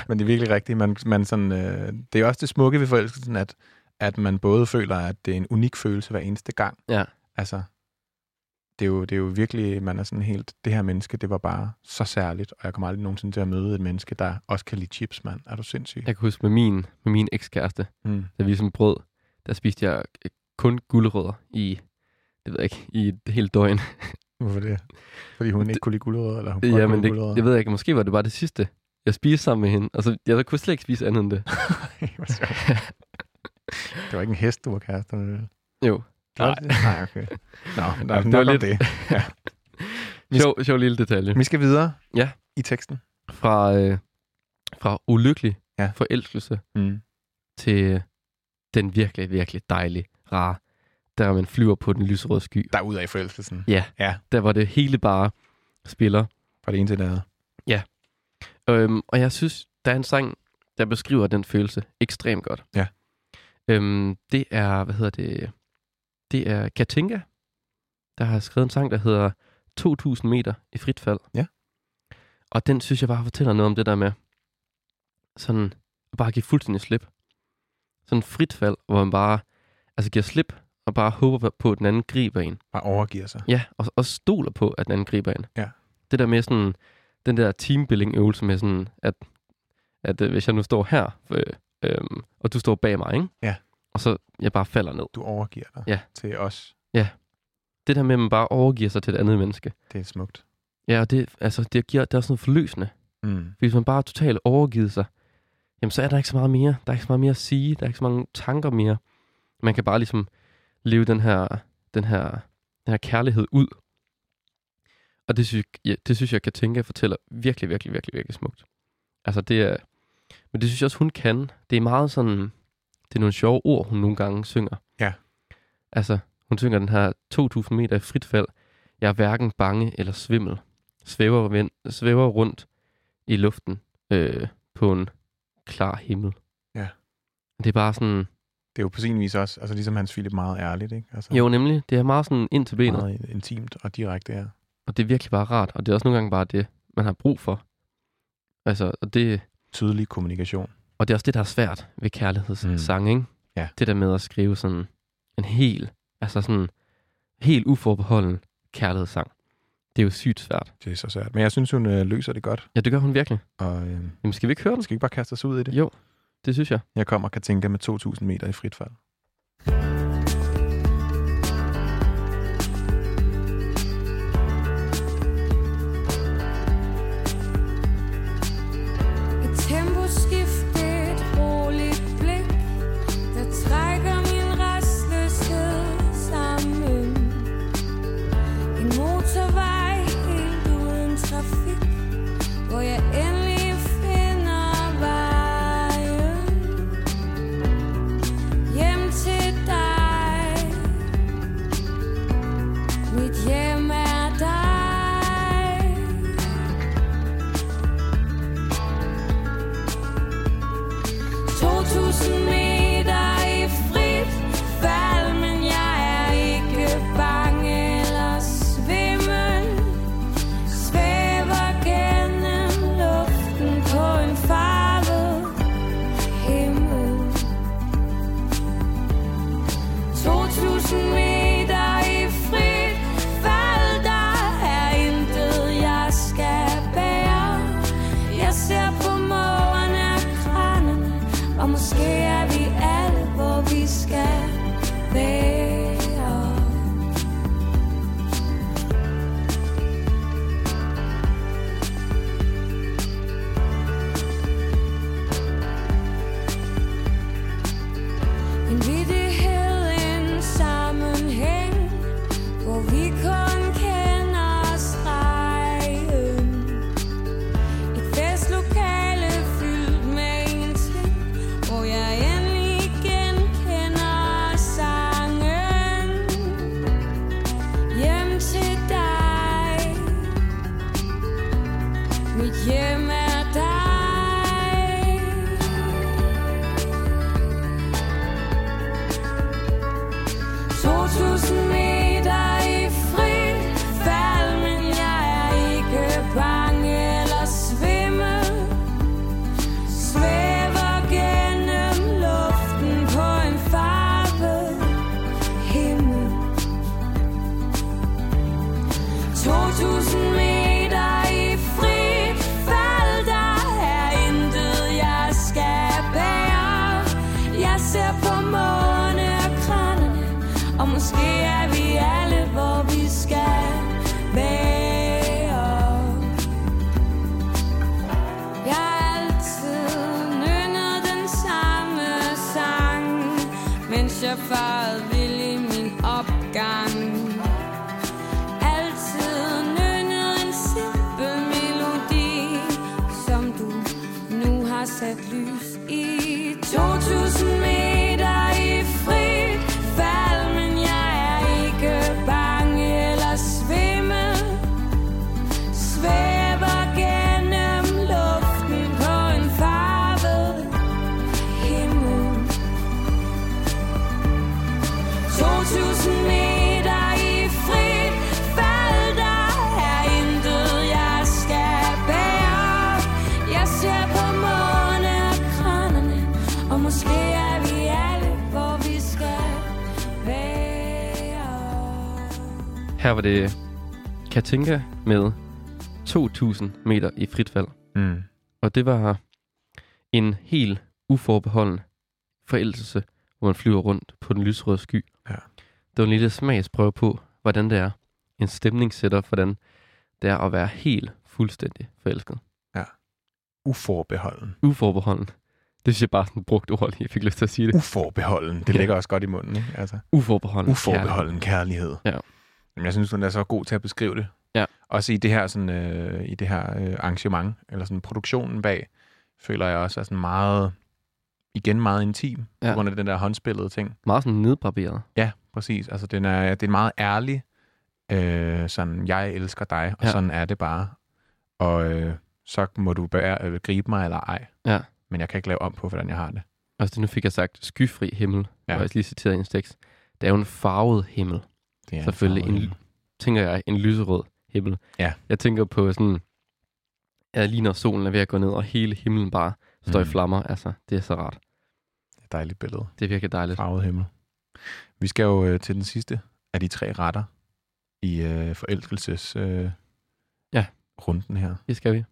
S1: Men det er virkelig rigtigt. Man, man sådan, øh, det er også det smukke ved forelskelsen, at, at man både føler, at det er en unik følelse hver eneste gang.
S2: Ja.
S1: Altså, det er, jo, det er jo virkelig, man er sådan helt, det her menneske, det var bare så særligt, og jeg kommer aldrig nogensinde til at møde et menneske, der også kan lide chips, mand. Er du sindssyg?
S2: Jeg kan huske med min, med min ekskæreste,
S1: Mm.
S2: da vi sådan brød, der spiste jeg øh, kun guldrødder i, det ved jeg ikke, i et helt døgn.
S1: Hvorfor det? Fordi hun ikke kunne lide gulerødder, eller hun godt
S2: Ja,
S1: kunne
S2: men
S1: lide
S2: det,
S1: gulerødder?
S2: jeg ved ikke, måske var det bare det sidste, jeg spiste sammen med hende. Altså, jeg kunne slet ikke spise andet end det.
S1: Ej, hvor sjovt. det var ikke en hest, du var kærester med. vel?
S2: Jo.
S1: Var det det? Nej, okay. Nå, der er
S2: det
S1: det
S2: var
S1: var lidt...
S2: lidt-
S1: det.
S2: Sjov, sjov lille detalje.
S1: Vi skal videre
S2: Ja.
S1: i teksten.
S2: Fra, øh, fra ulykkelig ja.
S1: Ja.
S2: forelskelse
S1: Mm.
S2: til øh, den virkelig, virkelig dejlige, rare, der man flyver på den lyserøde sky.
S1: Der er ud af forelskelsen.
S2: Ja,
S1: Ja.
S2: der var det hele bare spiller.
S1: Fra det ene til det andet.
S2: Øhm, og jeg synes, der er en sang, der beskriver den følelse ekstremt godt.
S1: Ja.
S2: Øhm, det er, hvad hedder det? Det er Katinka, der har skrevet en sang, der hedder 2000 meter i frit fald.
S1: Ja.
S2: Og den synes jeg bare fortæller noget om det der med sådan at bare give fuldstændig slip. Sådan frit fald, hvor man bare altså giver slip og bare håber på, at den anden griber en.
S1: Bare overgiver sig.
S2: Ja, og, og stoler på, at den anden griber ind.
S1: altså. Ja.
S2: Det der med sådan, den der teambuilding-øvelse med sådan, at, at øh, hvis jeg nu står her, øh, øh, og du står bag mig, ikke?
S1: Ja.
S2: Og så jeg bare falder ned.
S1: Du overgiver dig
S2: Ja.
S1: til os.
S2: Det der med, at man bare overgiver sig til et andet menneske.
S1: Det er smukt.
S2: Ja, og det, altså, det, giver, det er også noget forløsende.
S1: Mm.
S2: Fordi hvis man bare er totalt overgivet sig, jamen så er der ikke så meget mere. Der er ikke så meget mere at sige. Der er ikke så mange tanker mere. Man kan bare ligesom leve den her, den her, den her kærlighed ud. Og det synes, jeg, ja, det synes jeg, Katinka fortæller virkelig, virkelig, virkelig, virkelig smukt. Altså det er, men det synes jeg også, hun kan. Det er meget sådan, det er nogle sjove ord, hun nogle gange synger.
S1: Ja.
S2: Altså, hun synger den her 2000 meter i frit fald. Jeg er hverken bange eller svimmel. Svæver, ven, svæver rundt i luften øh, på en klar himmel.
S1: Ja.
S2: Det er bare sådan,
S1: Det er jo på sin vis også, altså ligesom Hans Philip, meget ærligt, ikke? Altså,
S2: jo nemlig, det er meget sådan ind til benet.
S1: meget intimt og direkte, ja.
S2: Og det er virkelig bare rart, og det er også nogle gange bare det, man har brug for. Altså, og det,
S1: Tydelig kommunikation.
S2: og det er også det, der er svært ved kærlighedssange, mm. ikke?
S1: Ja.
S2: Det der med at skrive sådan en hel, altså sådan helt uforbeholden kærlighedssang. Det er jo sygt svært.
S1: Det er så svært. Men jeg synes, hun øh, løser det godt,
S2: Ja, det gør hun virkelig.
S1: og øh,
S2: Jamen, skal vi ikke høre den?
S1: skal vi ikke bare kaste os ud i det?
S2: Jo, det synes jeg.
S1: Jeg kommer og kan tænke med 2.000 meter i frit fald.
S8: Et temposkift, et roligt blik, der trækker min restløshed sammen. En motorvej helt uden trafik, hvor jeg endelig finder vejen hjem til dig. Mit hjem er dig. meter i frit fald, der er intet, jeg skal bære. Jeg ser på mågerne og kranerne, og måske er vi alle, hvor vi skal være. En vittighed, en sammenhæng, hvor vi kun kender stregen. Et festlokale fyldt med ingenting, hvor jeg endelig genkender sangen. Hjem til dig. Mit hjem er dig. 2000 meter i frit fald, men jeg er ikke bange eller svimmel. Svæver gennem luften på en farvet himmel. 2000 meter i frit fald, der er intet, jeg skal bære. Jeg ser på mågerne og kranerne, og måske er vi alle, hvor vi skal være. Jeg har altid nynnet den samme sang, mens jeg farede vild i min opgang. Altid nynnet en simpel melodi, som du nu har sat lys i. 2000 meter i frit fald, men jeg er ikke bange eller svimmel. Svæver gennem luften på en farvet himmel. 2000 meter i frit fald, der er intet, jeg skal bære. Jeg ser på mågerne og kranerne, og måske er vi alle, hvor vi skal være.
S2: Her var det Katinka med 2000 meter i frit fald.
S1: Mm.
S2: Og det var en helt uforbeholden forældelse, hvor man flyver rundt på den lysrøde sky.
S1: Ja.
S2: Det var en lille smagsprøve på, hvordan det er. En stemningssætter, for, hvordan det er at være helt fuldstændig forelsket.
S1: Uforbeholden.
S2: Uforbeholden. Det synes jeg bare sådan brugt ord lige. Jeg fik lyst til at sige det.
S1: Uforbeholden. Det
S2: Ja.
S1: ligger også godt i munden, ikke? Altså,
S2: Uforbeholden.
S1: uforbeholden kærlighed.
S2: Ja.
S1: Jamen, jeg synes, hun er så god til at beskrive det.
S2: Ja.
S1: Også i det her, sådan, øh, i det her øh, arrangement, eller sådan produktionen bag, føler jeg også er sådan meget, igen meget intim, ja.
S2: Ja.
S1: på grund af den der håndspillede ting.
S2: Meget sådan nedbarberet.
S1: Ja, præcis. Altså, den er, det er en meget ærlig, øh, sådan, jeg elsker dig, og
S2: Ja.
S1: ja. sådan er det bare. Og øh, så må du bære, øh, gribe mig eller ej.
S2: Ja.
S1: Men jeg kan ikke lave om på, hvordan jeg har det.
S2: Altså det, nu fik jeg sagt skyfri himmel.
S1: Ja.
S2: Ja. Og jeg lige citeret i en tekst. Det er jo en farvet himmel.
S1: det er
S2: Selvfølgelig en,
S1: farve.
S2: ly- tænker jeg, en lyserød himmel.
S1: Ja.
S2: Jeg tænker på sådan, ja, lige når solen er ved at gå ned, og hele himlen bare står mm.
S1: Mm.
S2: i flammer. Altså, det er så rart.
S1: dejligt billede.
S2: Det er virkelig dejligt.
S1: Farvet himmel. Vi skal jo øh, til den sidste af de tre retter i øh, forelskelses øh,
S2: Ja.
S1: runden her.
S2: Det skal vi.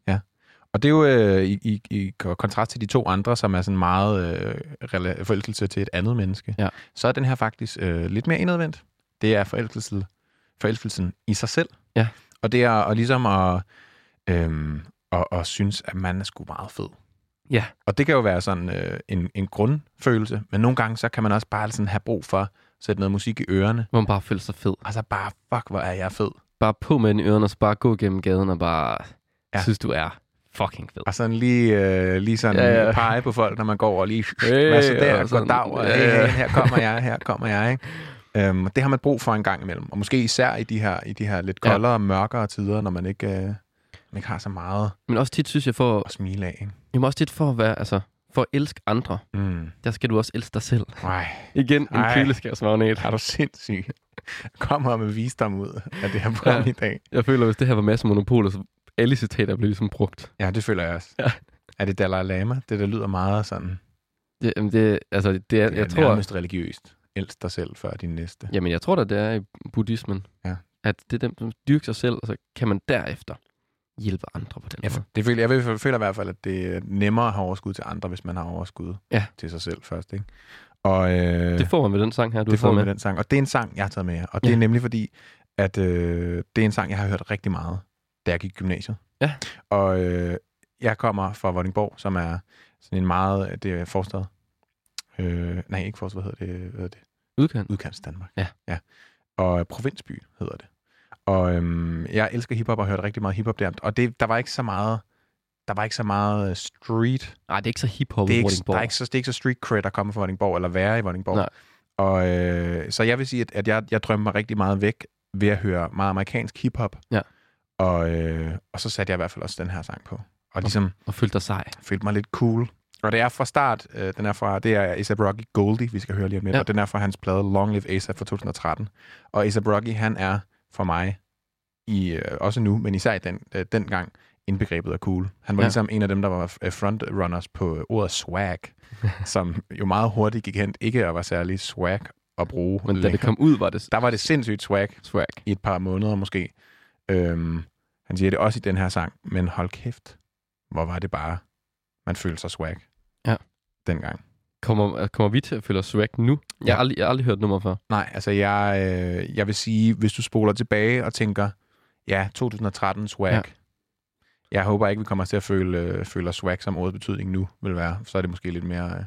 S1: Og det er jo øh, i, i, i kontrast til de to andre, som er sådan meget øh, rela- forelskelse til et andet menneske,
S2: Ja.
S1: så er den her faktisk øh, lidt mere indadvendt. Det er forelskelsen, forelskelsen i sig selv.
S2: Ja.
S1: Og det er og ligesom at, øhm, og, og synes, at man er sgu meget fed.
S2: Ja.
S1: Og det kan jo være sådan øh, en, en grundfølelse, men nogle gange så kan man også bare sådan have brug for at sætte noget musik i ørerne,
S2: Hvor man bare føler sig fed.
S1: og så bare, fuck, hvor er jeg fed.
S2: Bare på med den i ørerne, og så bare gå gennem gaden og bare
S1: Ja.
S2: ja. synes, du er fucking fed.
S1: Og sådan lige, øh, lige sådan ja,
S2: Ja,
S1: ja.
S2: ja.
S1: pege på folk, når man går og lige,
S2: Hey,
S1: hvad så der,
S2: og
S1: og
S2: sådan,
S1: goddag, og
S2: ja,
S1: hey,
S2: ja.
S1: hey, her kommer jeg, her kommer jeg, ikke? Øhm, og det har man brug for en gang imellem. Og måske især i de her, i de her lidt
S2: Ja.
S1: koldere, ja. mørkere tider, når man ikke, øh, man ikke har så meget
S2: Men også tit synes jeg, for,
S1: at smile af. Ikke?
S2: jamen også tit for at være, altså, for at elske andre,
S1: Mm.
S2: der skal du også elske dig selv.
S1: Ej,
S2: Igen, en
S1: Ej.
S2: køleskabsmagnet.
S1: er du sindssyg? Kommer med visdom ud af det her program ja.
S2: Ja.
S1: i dag.
S2: Jeg føler, hvis det her var masse monopoler, så alle citater blev ligesom brugt.
S1: Ja, det føler jeg også. Ja.
S2: Ja.
S1: Er det Dalai Lama? Det der lyder meget sådan, det
S2: Det, jamen, det, altså, det, det er,
S1: er
S2: jeg tror,
S1: nærmest religiøst. Elsk dig selv før din næste.
S2: Jamen, jeg tror da, det er i buddhismen.
S1: Ja.
S2: At det er dem, som dyrker sig selv, og så kan man derefter hjælpe andre på den
S1: Jeg,
S2: måde.
S1: det føler, jeg, vil- føler i hvert fald, at det er nemmere at have overskud til andre, hvis man har overskud
S2: Ja.
S1: til sig selv først. Ikke? Og, øh,
S2: Det får man med den sang her, du
S1: det får
S2: har
S1: vi
S2: med.
S1: med den sang. Og det er en sang, jeg har taget med her. Og det ja.
S2: Ja.
S1: er nemlig fordi, at øh, det er en sang, jeg har hørt rigtig meget, da jeg gik i gymnasiet.
S2: Ja.
S1: Og øh, jeg kommer fra Vordingborg, som er sådan en meget... Det er forstad. Øh, nej, ikke forstad. Hvad hedder det? Hvad hedder det?
S2: Udkant.
S1: Udkants Danmark.
S2: Ja.
S1: ja. Og øh, provinsby hedder det. Og øhm, jeg elsker hiphop og hørte rigtig meget hiphop der. Og det, der var ikke så meget der var ikke så meget øh, street.
S2: Nej, det er ikke så hip-hop
S1: Det
S2: i
S1: er, ikke, der er
S2: Vordingborg.
S1: ikke så, det er ikke så street cred at komme fra Vordingborg, eller være i Vordingborg.
S2: Nej.
S1: Og, øh, så jeg vil sige, at, at jeg, jeg drømte mig rigtig meget væk ved at høre meget amerikansk hiphop.
S2: Ja.
S1: Og, øh, og så satte jeg i hvert fald også den her sang på. Og ligesom
S2: Og følte dig sej.
S1: følte mig lidt cool. Og det er fra start, øh, den er fra, det er A$AP Rocky Goldie, vi skal høre lige om lidt, ja.
S2: Ja.
S1: og den er fra hans plade Long Live A$AP fra 2013. Og A$AP Rocky, han er for mig, i, øh, også nu, men især i den, øh, dengang, indbegrebet af cool. Han var ja.
S2: Ja.
S1: ligesom en af dem, der var øh, frontrunners på øh, ordet swag, som jo meget hurtigt gik hen, ikke at være særlig swag at bruge.
S2: Men da det
S1: længere.
S2: kom ud, var det
S1: der var det sindssygt swag
S2: swag.
S1: i et par måneder måske. Øhm, han siger det også i den her sang, men hold kæft, hvor var det bare, man følte sig swag
S2: Ja.
S1: dengang.
S2: Kommer, kommer vi til at føle os swag nu? Ja. Jeg, har aldrig, jeg har aldrig hørt nummer før.
S1: Nej, altså jeg, øh, jeg vil sige, hvis du spoler tilbage og tænker, ja, 2013 swag. Ja.
S2: Ja.
S1: Jeg håber ikke, vi kommer til at føle, øh, føle os swag, som ordets betydning nu vil være. Så er det måske lidt mere... Øh,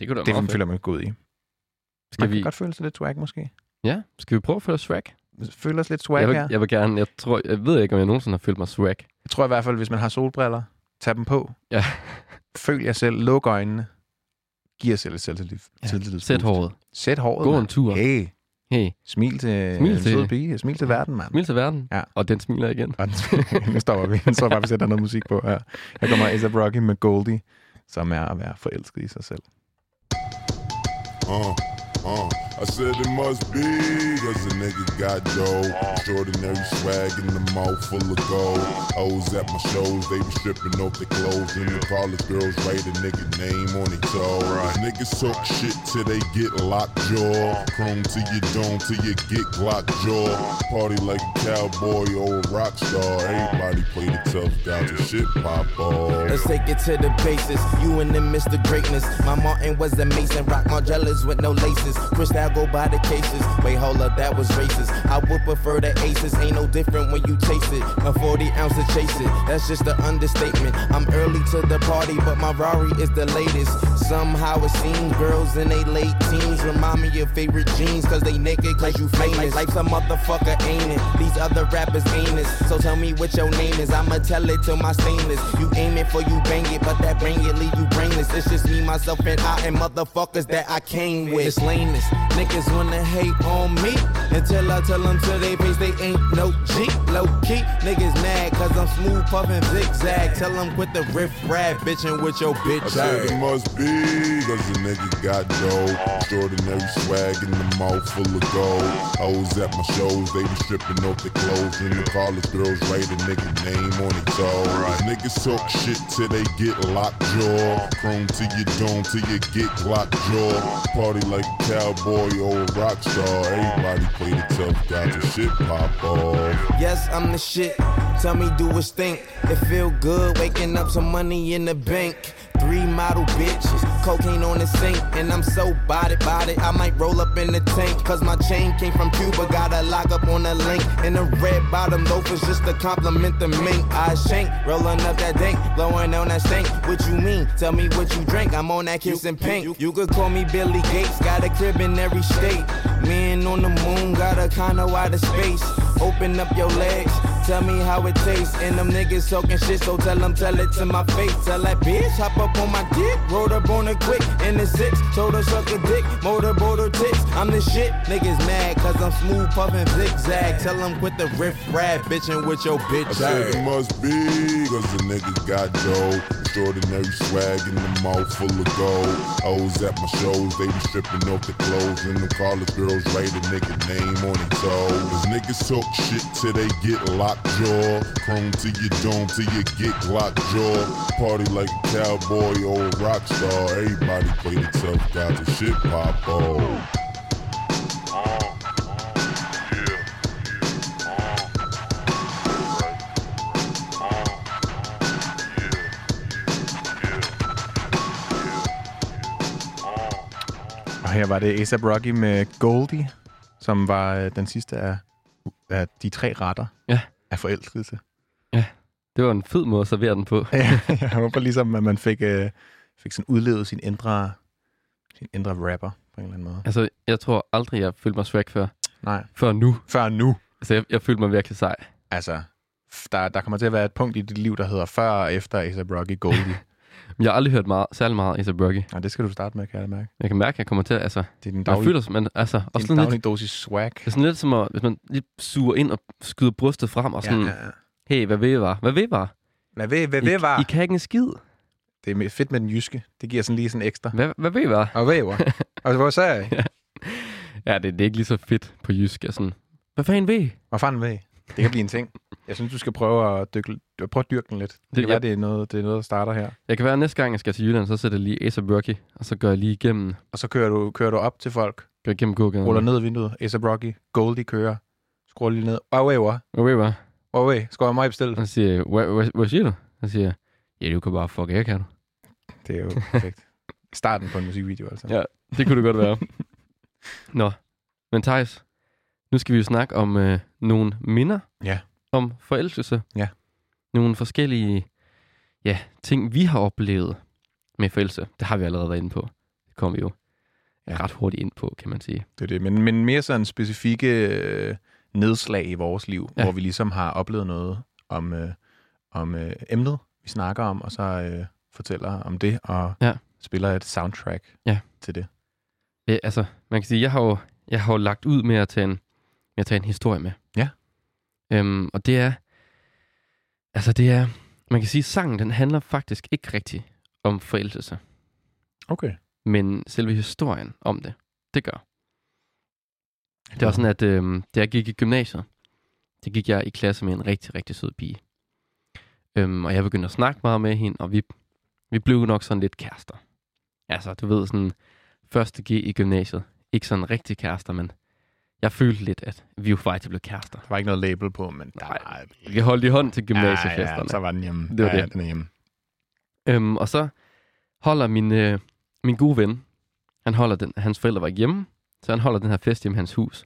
S2: Det kunne da være
S1: det man
S2: meget fedt.
S1: føler man god i.
S2: Skal vi,
S1: godt føle sig lidt swag, måske.
S2: ja, skal vi prøve at føle os swag?
S1: Føle os lidt swag
S2: Jeg vil,
S1: her.
S2: jeg vil gerne, jeg, tror, jeg ved ikke, om jeg nogensinde har følt mig swag.
S1: Jeg tror i hvert fald, hvis man har solbriller, tag dem på.
S2: Ja.
S1: Føl jer selv, luk øjnene. Giv jer selv et selvtillid. Ja.
S2: Sæt håret.
S1: Sæt håret.
S2: Gå
S1: mand.
S2: en tur.
S1: Hey,
S2: Hey,
S1: smil til smil
S2: Smil
S1: en
S2: til-
S1: sød pige. Smil til verden, mand.
S2: smil til verden.
S1: Ja.
S2: Og den smiler igen.
S1: Og den- nu stopper vi. Jeg tror bare, vi sætter noget musik på her. Her kommer A$AP Rocky med Goldie, som er at være forelsket i sig selv.
S9: Uh, uh. I said it must be, cause a nigga got dough. Extraordinary swag in the mouth full of gold. O's at my shows, they was stripping off their clothes. And the college girls write a nigga name on their toe. Niggas talk shit till they get locked jaw. Chrome to your dome till you get Glock jaw. Party like a cowboy or a rock star. Everybody play the tough guy till shit pop off.
S10: Let's take it to the basis. You and them Mr. Greatness. My Martin was a mason. Rock Margellas with no laces. Chris now go by the cases. Wait, hold up, that was racist. races. I would prefer the aces, ain't no different when you chase it. A 40 ounce to chase it, that's just an understatement. I'm early to the party, but my Rari is the latest. Somehow it seems girls in they late teens remind me of favorite jeans, cause they naked, cause you famous. Life's a motherfucker, ain't it? These other rappers ain't it. So tell me what your name is, I'ma tell it till my stainless. You aim it for you bang it, but that bang it leave you brainless. It's just me, myself, and I, and motherfuckers that I came with. It's lameness. Niggas wanna hate on me until I tell them to they face they ain't no G. Low key, niggas mad cause I'm smooth puffin' zigzag. Tell them quit the riff rap, bitchin' with your
S9: I
S10: bitch
S9: said
S10: ass.
S9: it must be, cause the nigga got dough. Extraordinary swag in the mouth full of gold. Hoes at my shows, they be stripping off their clothes. And the college girls write a nigga name on their toes. Niggas talk shit till they get locked jaw. Chrome to your dome till you get locked jaw. Party like a cowboy or a rock star. Everybody play the tough guy till shit pop off.
S10: Yes, I'm the shit. Tell me, do it stink? It feel good waking up some money in the bank. Three model bitches, cocaine on the sink, and I'm so bodied, bodied. I might roll up in the tank, cause my chain came from Cuba. Got a lock up on the link, and the red bottom loafers just to compliment the mink. I shank, rolling up that dank, blowing on that stank. What you mean? Tell me what you drink. I'm on that kiss and pink. You could call me Billy Gates, got a crib in every state. Man on the moon, got a condo out of space. Open up your legs, tell me how it tastes. And them niggas talking shit, so tell them, tell it to my face. Tell that bitch, hop up on my dick, rolled up on her quick. In the six, told her suck a dick, motorboat her tits. I'm the shit, niggas mad, cause I'm smooth puffin' zigzag. Tell them quit the riff rap, bitchin' with your
S9: I
S10: bitch
S9: said it
S10: ass.
S9: must be, cause the nigga got dough. Extraordinary swag in the mouth full of gold. Hoes at my shows, they be stripping off the clothes. And the college girls write a nigga name on their toes. Cause niggas talk shit till they get locked jaw. Chrome to your dome till you get locked jaw. Party like a cowboy or a rock star. Everybody play the tough guy till shit pop off.
S1: Og her var det ASAP Rocky med Goldie, som var øh, den sidste af, af de tre retter
S2: Ja.
S1: af forelskelse.
S2: Det var en fed måde at servere den på.
S1: Jeg håber ligesom, at man fik, øh, fik sådan udlevet sin indre, sin indre rapper på en eller anden måde.
S2: Altså, jeg tror aldrig, jeg følte mig swag før.
S1: Nej.
S2: Før nu.
S1: Før nu.
S2: Altså, jeg, jeg følte mig virkelig sej.
S1: Altså, f- der, der kommer til at være et punkt i dit liv, der hedder før og efter A$AP Rocky Goldie.
S2: Men jeg har aldrig hørt meget, særlig meget A$AP Rocky.
S1: og det skal du starte med, kan jeg da mærke.
S2: Jeg kan mærke, at jeg kommer til, altså...
S1: Det er din
S2: Jeg
S1: daglige,
S2: føler, man, altså, også
S1: din
S2: sådan
S1: daglige
S2: lidt,
S1: dosis swag.
S2: det er sådan lidt som at, hvis man lige suger ind og skyder brystet frem og sådan, ja, ja.
S1: ja.
S2: hey, hvad ved I var? Hvad ved I var?
S1: Hvad ved, hvad
S2: I,
S1: ved var?
S2: I kan ikke en skid.
S1: Det er me- fedt med den jyske. Det giver sådan lige sådan ekstra.
S2: Hvad, hvad ved I var?
S1: Og hvad var? Og hvor sagde jeg?
S2: Ja, det, det er ikke lige så fedt på jysk. Jeg er sådan, hvad fanden ved I?
S1: Hvad fanden ved I? Det kan blive en ting. Jeg synes, du skal prøve at, dykke, prøve at dyrke den lidt. Det,
S2: Det-
S1: kan
S2: ja.
S1: være, det er, noget, det er noget, der starter her.
S2: Jeg kan være, at næste gang, jeg skal til Jylland, så sætter jeg lige A$AP Rocky, og så går jeg lige igennem,
S1: Og så kører du, kører du op til folk,
S2: går igennem gågaden.
S1: ruller ned i vinduet, A$AP Rocky, Goldie kører, skruer lige ned. Og hvad var?
S2: Hvad ved I var?
S1: Og hvad? Skruer mig bestilt.
S2: Han siger, jeg, hvad, hvad, hvad siger du? Han siger, jeg, ja, du kan bare fuck af, kan du?
S1: Det er jo perfekt. Starten på en musikvideo, altså.
S2: Ja. Det kunne det godt være. Nå, men Thijs, nu skal vi jo snakke om øh, nogle minder
S1: Ja.
S2: om forelskelse.
S1: Ja.
S2: Nogle forskellige ja, ting, vi har oplevet med forelskelse. Det har vi allerede været inde på. Det kom vi jo ja. ret hurtigt ind på, kan man sige.
S1: Det er det. Men, men mere sådan specifikke øh, nedslag i vores liv,
S2: Ja.
S1: ja. hvor vi ligesom har oplevet noget om, øh, om øh, emnet, vi snakker om, og så øh, fortæller om det, og
S2: Ja.
S1: ja. spiller et soundtrack
S2: Ja.
S1: til det.
S2: Ja, altså, man kan sige, jeg har jo, jeg har jo lagt ud med at tage en, med at tage en historie med.
S1: Ja.
S2: Øhm, og det er, altså det er, man kan sige, sangen, den handler faktisk ikke rigtigt om forelskelse,
S1: Okay.
S2: men selve historien om det, det gør. Det var sådan, at øhm, da jeg gik i gymnasiet, der gik jeg i klasse med en rigtig, rigtig sød pige. Øhm, og jeg begyndte at snakke meget med hende, og vi, vi blev nok sådan lidt kærester. Altså, du ved, sådan første G i gymnasiet. Ikke sådan rigtig kærester, men jeg følte lidt, at vi jo faktisk blev kærester.
S1: Der var ikke noget label på, men der
S2: Nej.
S1: var...
S2: Vi holdt i hånd til
S1: Ja, ja,
S2: gymnasiefesterne.
S1: så var den hjemme.
S2: Det var
S1: ja, ja,
S2: det.
S1: Den er hjemme.
S2: Øhm, og så holder min, øh, min gode ven, han holder den, hans forældre var ikke hjemme, så han holder den her fest hjemme i hans hus.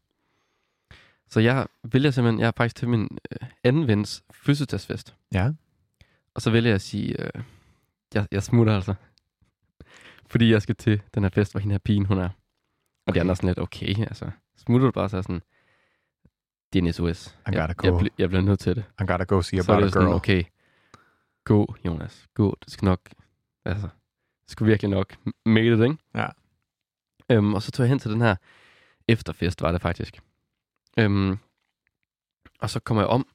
S2: Så jeg vælger simpelthen, jeg er faktisk til min øh, anden vens fødselsdagsfest.
S1: Ja.
S2: Og så vælger jeg at sige, øh, jeg, jeg smutter altså. Fordi jeg skal til den her fest, hvor hende her pigen hun er. Og det andre er sådan lidt, okay, altså. Smutter du bare, så er jeg sådan, det er en SOS.
S1: I
S2: Jeg,
S1: gotta
S2: jeg,
S1: go.
S2: bli- jeg bliver nødt til det.
S1: I gotta go see
S2: så er
S1: about
S2: det
S1: a
S2: jo sådan,
S1: girl.
S2: okay, gå, Jonas, gå. Du skal nok, altså, du skal virkelig nok made det, ikke?
S1: Ja.
S2: Øhm, og så tog jeg hen til den her efterfest, var det faktisk. Øhm, og så kommer jeg om,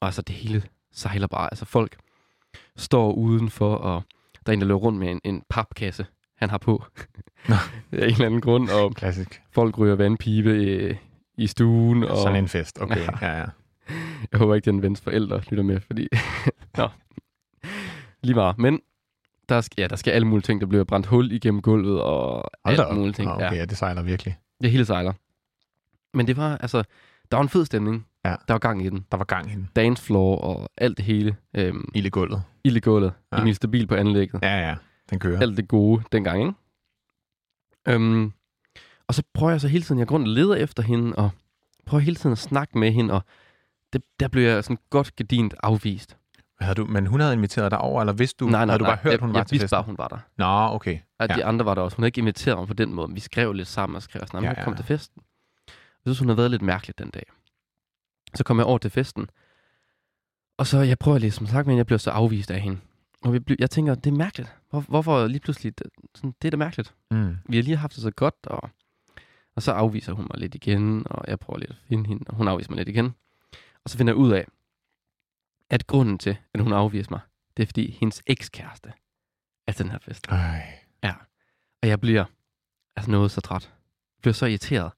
S2: og altså det hele sejler bare. Altså folk står udenfor, og der er en, der løber rundt med en, en papkasse, han har på.
S1: Nå.
S2: Af en eller anden grund, og
S1: Klassisk.
S2: folk ryger vandpibe i, i stuen. Og...
S1: Sådan en fest. Okay, ja, ja.
S2: Jeg håber ikke, den vens forældre lytter med, fordi... Nå. Lige meget. Men der skal, ja, der skal alle mulige ting. Der bliver brændt hul igennem gulvet og
S1: Hold da
S2: alt
S1: op.
S2: mulige ting.
S1: Nå, okay, ja, det sejler virkelig.
S2: Det hele sejler. Men det var, altså... Der var en fed stemning.
S1: Ja.
S2: Der var gang i den.
S1: Der var gang i den.
S2: Dance floor og alt det hele. Øhm,
S1: Ild i gulvet.
S2: ild i gulvet.
S1: Ja.
S2: Ja. Emil Stabil på anlægget.
S1: Ja, ja. Den kører.
S2: Alt det gode dengang, ikke? Øhm, og så prøver jeg så hele tiden, jeg går rundt og leder efter hende, og prøver hele tiden at snakke med hende, og det, der blev jeg sådan godt gedint afvist.
S1: Havde du, men hun havde inviteret dig over, eller vidste du, havde du bare hørt,
S2: jeg,
S1: hun var
S2: jeg
S1: til
S2: vidste
S1: festen?
S2: bare, hun var der.
S1: Nå, okay.
S2: Og
S1: Ja.
S2: de andre var der også. Hun havde ikke inviteret mig på den måde. men Vi skrev lidt sammen og skrev sådan, at
S1: Ja,
S2: ja,
S1: ja,
S2: kom
S1: ja.
S2: til festen. Jeg synes, hun havde været lidt mærkelig den dag. Så kom jeg over til festen. Og så, jeg prøver lige som sagt, men jeg blev så afvist af hende. Og vi blev, jeg tænker, det er mærkeligt. Hvor, hvorfor lige pludselig, det- sådan, det er da mærkeligt
S1: Mm.
S2: vi har lige haft det så godt, og, og så afviser hun mig lidt igen, og jeg prøver lidt at finde hende, og hun afviser mig lidt igen. Og så finder jeg ud af, at grunden til, at hun afviser mig, det er fordi hendes ekskæreste er til den her fest.
S1: Ej.
S2: Og jeg bliver altså noget så træt. Jeg bliver så irriteret.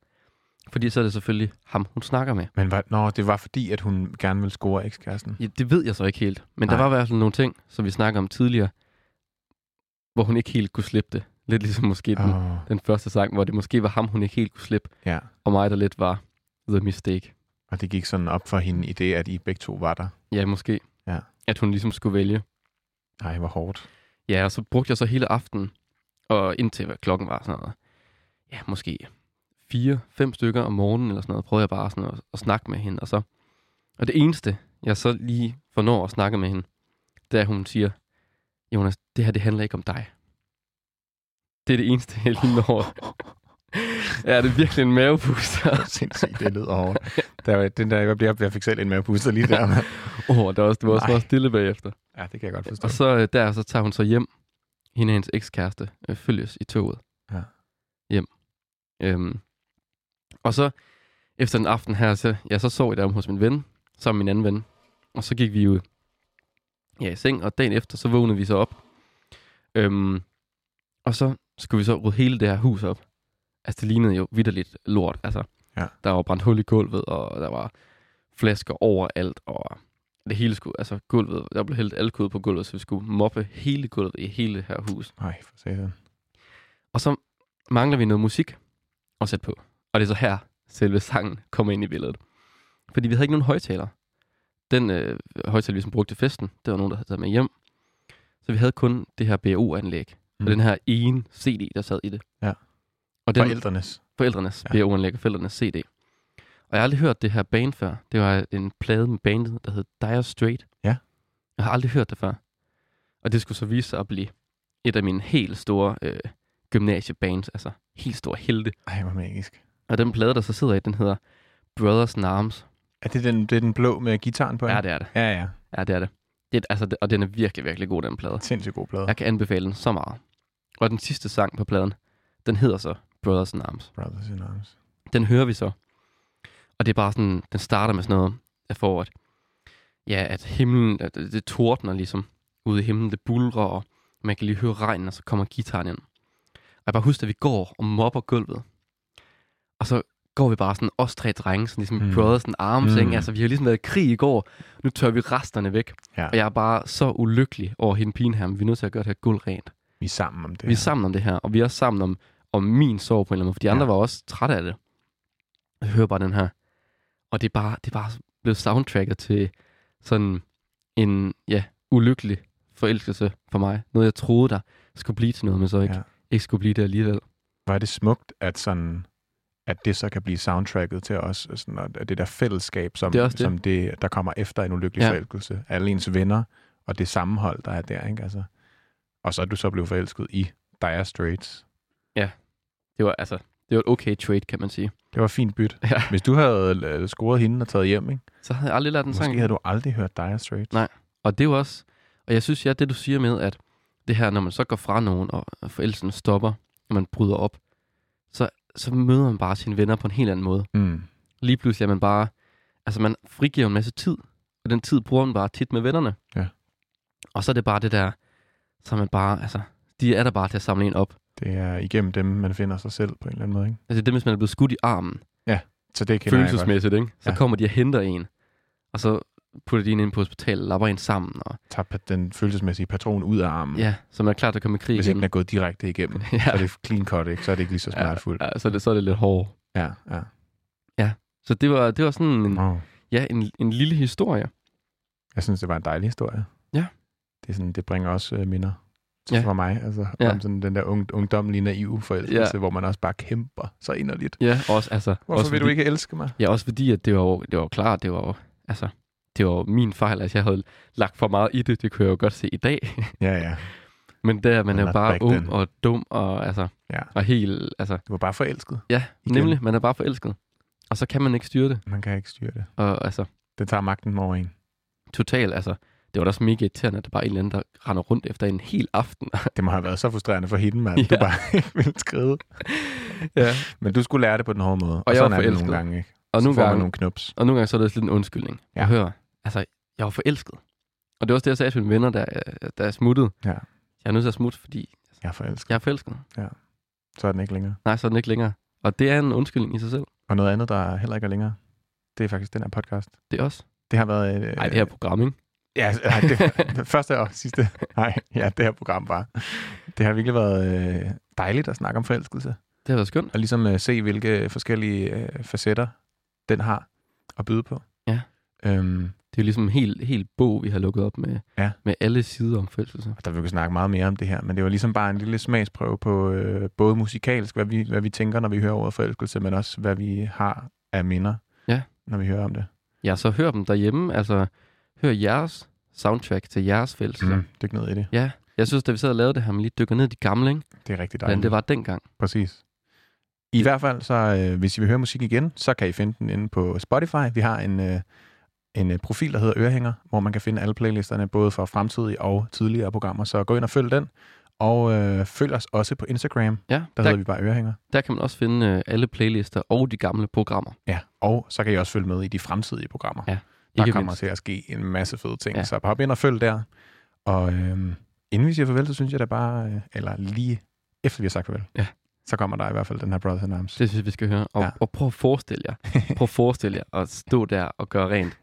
S2: Fordi så er det selvfølgelig ham, hun snakker med.
S1: Men var, nå, det var fordi, at hun gerne ville score ekskæresten.
S2: Ja, det ved jeg så ikke helt. Men der
S1: Nej.
S2: var i hvert fald nogle ting, som vi snakkede om tidligere, hvor hun ikke helt kunne slippe det. Lidt ligesom måske den,
S1: Åh,
S2: den første sang, hvor det måske var ham, hun ikke helt kunne slippe.
S1: Ja.
S2: Og mig, der lidt var the mistake.
S1: og det gik sådan op for hende i det, at I begge to var der.
S2: Ja, måske.
S1: Ja.
S2: At hun ligesom skulle vælge.
S1: Ej, hvor hårdt.
S2: Ja, og så brugte jeg så hele aftenen, og indtil hvad klokken var sådan noget. Ja, måske fire, fem stykker om morgenen eller sådan noget, prøvede jeg bare sådan at, at snakke med hende. Og, så, og det eneste, jeg så lige fornår at snakke med hende, det er, at hun siger, Jonas, det her, det handler ikke om dig. Det er det eneste, jeg lige når. ja, det er virkelig en mavepuster.
S1: Sindssygt, det lyder hårdt. Der, var- den der, jeg, blev, jeg fik selv en mavepuster lige der. mand.
S2: Åh, oh, der var også, du var også
S1: Nej.
S2: meget stille bagefter.
S1: Ja, det kan jeg godt forstå.
S2: Og så øh, der, så tager hun så hjem. Hende og hendes ekskæreste øh, følges i toget.
S1: Ja.
S2: Hjem. Øhm. Og så, efter den aften her, så, ja, så sov jeg derom hos min ven, sammen med min anden ven. Og så gik vi jo ja, i seng, og dagen efter, så vågnede vi så op. Øhm. Og så skulle vi så rydde hele det her hus op. Altså, det lignede jo vidderligt lort. Altså,
S1: Ja.
S2: der var brændt hul i gulvet, og der var flasker overalt, og det hele skulle, altså gulvet, der blev hældt alkohol på gulvet, så vi skulle moppe hele gulvet i hele det her hus.
S1: Nej, for satan.
S2: Og så mangler vi noget musik at sætte på. Og det er så her, selve sangen kommer ind i billedet. Fordi vi havde ikke nogen højtaler. Den øh, højtaler, vi som brugte til festen, det var nogen, der havde taget med hjem. Så vi havde kun det her BO-anlæg. Mm.
S1: Mm.
S2: Og den her ene CD, der sad i det.
S1: Ja.
S2: Og den,
S1: Forældrenes.
S2: forældrenes
S1: Ja.
S2: ja. BO-anlæg og forældrenes CD. Og jeg har aldrig hørt det her band før. Det var en plade med bandet, der hed Dire Straight.
S1: Ja.
S2: Jeg har aldrig hørt det før. Og det skulle så vise sig at blive et af mine helt store øh, gymnasiebands, altså helt store helte.
S1: Ej, hvor magisk.
S2: Og den plade, der så sidder i, den hedder Brothers in Arms.
S1: Er det den, det er den blå med gitaren på?
S2: Ja,
S1: ikke?
S2: det er det.
S1: Ja, ja.
S2: Ja, det er det. det er, altså, det- og den er virkelig, virkelig god, den plade.
S1: Sindssygt god plade.
S2: Jeg kan anbefale den så meget. Og den sidste sang på pladen, den hedder så Brothers in Arms.
S1: Brothers in Arms.
S2: den hører vi så. Og det er bare sådan, den starter med sådan noget, jeg får, at, ja, at himlen, at det, det tordner ligesom ude i himlen, det bulrer, og man kan lige høre regnen, og så kommer gitaren ind. Og jeg bare husker, at vi går og mobber gulvet. Og så går vi bare sådan, os tre drenge, sådan ligesom
S1: Mm.
S2: mm. brothers and arms,
S1: Mm.
S2: mm. ikke? Altså, vi har ligesom været i krig i går, nu tør vi resterne væk.
S1: Ja.
S2: Og jeg er bare så ulykkelig over hende pigen her, men vi er nødt til at gøre det her gulv rent.
S1: Vi er sammen om det.
S2: Vi er sammen om det her, og vi er også sammen om, om min sorg på en eller anden måde, for de andre
S1: Ja.
S2: var også trætte af det. Jeg hører bare den her. Og det er bare, det er bare blevet soundtracket til sådan en ja, ulykkelig forelskelse for mig. Noget, jeg troede, der skulle blive til noget, men så ikke,
S1: Ja.
S2: ja. ikke skulle blive det alligevel.
S1: Var det smukt, at sådan at det så kan blive soundtracket til os, og sådan, og det der fællesskab, som
S2: Det er
S1: det,
S2: også det.
S1: det. som det, der kommer efter en ulykkelig
S2: Ja.
S1: ja. forelskelse. Alle ens venner, og det sammenhold, der er der, ikke? Altså, og så er du så blevet forelsket i Dire Straits.
S2: Det var, altså, det var et okay trade, kan man sige.
S1: Det var fint byt.
S2: Ja.
S1: Hvis du havde øh, scoret hende og taget hjem, ikke?
S2: Så havde jeg aldrig lært den
S1: Måske
S2: sang.
S1: havde du aldrig hørt Dire Straits.
S2: Nej. Og det er jo også, og jeg synes ja, det du siger med, at det her, når man så går fra nogen, og forelsen stopper, og man bryder op, så, så møder man bare sine venner på en helt anden måde.
S1: Mm.
S2: Lige pludselig er man bare, altså man frigiver en masse tid, og den tid bruger man bare tit med vennerne.
S1: Ja.
S2: Og så er det bare det der, så er man bare, altså, de er der bare til at samle en op.
S1: Det er igennem dem, man finder sig selv på en eller anden måde, ikke?
S2: Altså det, er, hvis man er blevet skudt i armen,
S1: Så det kender jeg godt.
S2: følelsesmæssigt, ikke? Så
S1: Ja.
S2: kommer de og henter en, og så putter de en ind på hospitalet, lapper en sammen, og
S1: Tager pa- den følelsesmæssige patron ud af armen.
S2: ja, så man er klar til at komme i krig
S1: Hvis ikke
S2: igen.
S1: den er gået direkte igennem,
S2: Ja.
S1: ja. så er det clean cut, ikke? Så er det ikke lige så smertefuldt.
S2: Ja, så, er det, så er det lidt hårdt.
S1: Ja, ja.
S2: Så det var, det var sådan en,
S1: Wow.
S2: ja, en, en lille historie.
S1: Jeg synes, det var en dejlig historie.
S2: Ja.
S1: Det, er sådan, det bringer også øh, minder
S2: Ja.
S1: ja. fra mig. Altså,
S2: Ja.
S1: ja. om sådan den der ung, ungdomlige naive forelskelse,
S2: Ja.
S1: ja. hvor man også bare kæmper så inderligt.
S2: Ja, også, altså,
S1: Hvorfor
S2: også
S1: også vil du ikke elske mig?
S2: Ja, også fordi, at det var, jo- det var jo klart, det var jo, altså, det var jo min fejl, at jeg havde lagt for meget i det. Det kunne jeg jo godt se i dag.
S1: Ja, ja.
S2: Men der, man
S1: Men
S2: er
S1: not
S2: bare
S1: back
S2: ung
S1: then.
S2: og dum og, altså,
S1: Ja.
S2: og helt, altså,
S1: Du var bare forelsket.
S2: ja,
S1: Igen.
S2: nemlig, man er bare forelsket. Og så kan man ikke styre det.
S1: Man kan ikke styre det.
S2: Og altså,
S1: Det tager magten over en.
S2: totalt, altså, det var da også mega irriterende, at der bare er en eller anden, der render rundt efter en hel aften.
S1: Det må have været så frustrerende for hende, mand. Ja.
S2: Ja.
S1: Du bare ikke ville skride.
S2: ja.
S1: Men du skulle lære det på den hårde måde. Og,
S2: jeg
S1: sådan
S2: var
S1: er det
S2: forelsket.
S1: nogle gange, ikke?
S2: Og
S1: så
S2: nogle
S1: får man
S2: gange,
S1: nogle knups.
S2: Og nogle gange så er det også lidt en undskyldning. Ja.
S1: Ja.
S2: Jeg hører, altså, jeg var forelsket. Og det var også det, jeg sagde til mine venner, der, der er smuttet.
S1: Ja.
S2: Jeg er nødt til at smutte, fordi
S1: Jeg er forelsket.
S2: jeg er forelsket.
S1: Så er den ikke længere.
S2: Nej, så er den ikke længere. Og det er en undskyldning i sig selv.
S1: Og noget andet, der heller ikke er længere, det er faktisk den her podcast.
S2: Det er også.
S1: Det har været... Øh,
S2: Nej, det her program, ikke?
S1: Ja, altså, nej, det, det første og sidste. Nej, ja, det her program var. Det har virkelig været øh, dejligt at snakke om forelskelse,
S2: Det har været skønt.
S1: og ligesom øh, se, hvilke forskellige øh, facetter den har at byde på.
S2: Ja.
S1: Øhm,
S2: Det er jo ligesom en hel, hel bog, vi har lukket op med,
S1: Ja.
S2: med alle sider om forelskelse.
S1: og der vil vi kunne snakke meget mere om det her, men det var ligesom bare en lille smagsprøve på øh, både musikalsk, hvad vi, hvad vi tænker, når vi hører ordet forelskelse, men også hvad vi har af minder,
S2: Ja.
S1: når vi hører om det.
S2: Ja, så hør dem derhjemme. Altså, hør jeres soundtrack til jeres forelskelse. Mm.
S1: Mm. Dyk ned i det.
S2: Ja, jeg synes, da vi sad og lavede det her, man lige dykker ned i de gamle, ikke?
S1: Det er rigtig
S2: Hvordan
S1: dejligt.
S2: det var dengang.
S1: Præcis. I hvert fald, så øh, hvis I vil høre musik igen, så kan I finde den inde på Spotify. Vi har en, øh, en øh, profil, der hedder Ørehænger, hvor man kan finde alle playlisterne, både fra fremtidige og tidligere programmer. Så gå ind og følg den. Og øh, følg os også på Instagram.
S2: Ja,
S1: Der,
S2: der,
S1: hedder vi bare Ørehænger.
S2: der kan man også finde øh, alle playlister og de gamle programmer.
S1: Ja, og så kan I også følge med i de fremtidige programmer.
S2: Ja,
S1: der
S2: ikke
S1: kommer
S2: mindst.
S1: til at ske en masse fede ting.
S2: Ja.
S1: Ja. Så hop ind og følg der. Og øh, inden vi siger farvel, så synes jeg da bare, øh, eller lige efter vi har sagt farvel,
S2: Ja.
S1: så kommer der i hvert fald den her Brothers in Arms.
S2: Det synes jeg, vi skal høre. Og, ja.
S1: Ja.
S2: og prøv at forestille jer. Prøv at forestille jer at stå der og gøre rent.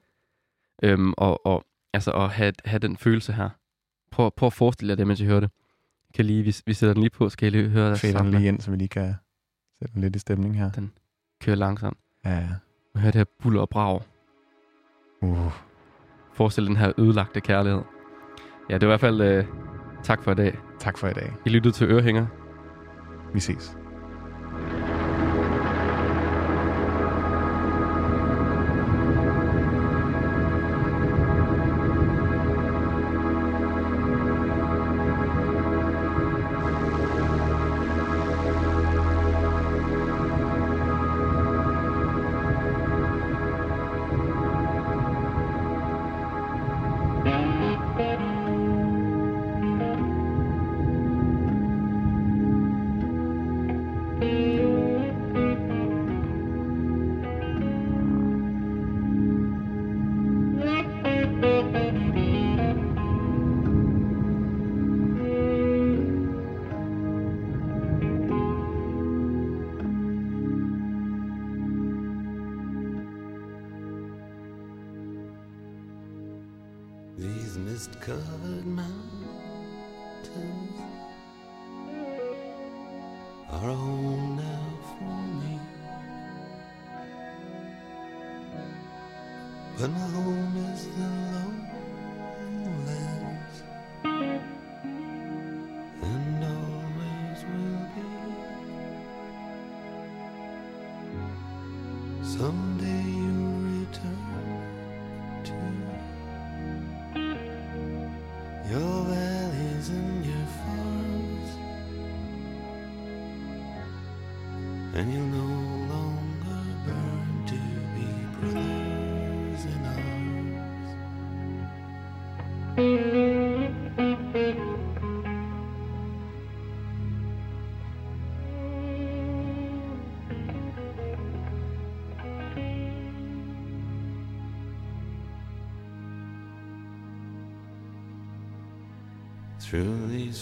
S2: Øhm, og, og altså at have, have den følelse her. Prøv, prøv at forestille jer det, mens I hører det. Kan lige, vi, vi sætter den lige på, skal I lige høre det
S1: Fader den
S2: sammen.
S1: lige ind, så vi lige kan sætte den lidt i stemning her.
S2: Køre langsomt.
S1: Ja.
S2: Man hører det her buller og brag.
S1: Uh,
S2: Forestil den her ødelagte kærlighed. Ja, det var i hvert fald øh, tak for i dag.
S1: tak for i dag.
S2: I lyttede til Ørehænger.
S1: Vi ses.
S7: These mist covered mountains are home now for me. But my home is the lowlands and always will be.
S11: closing arms. Through these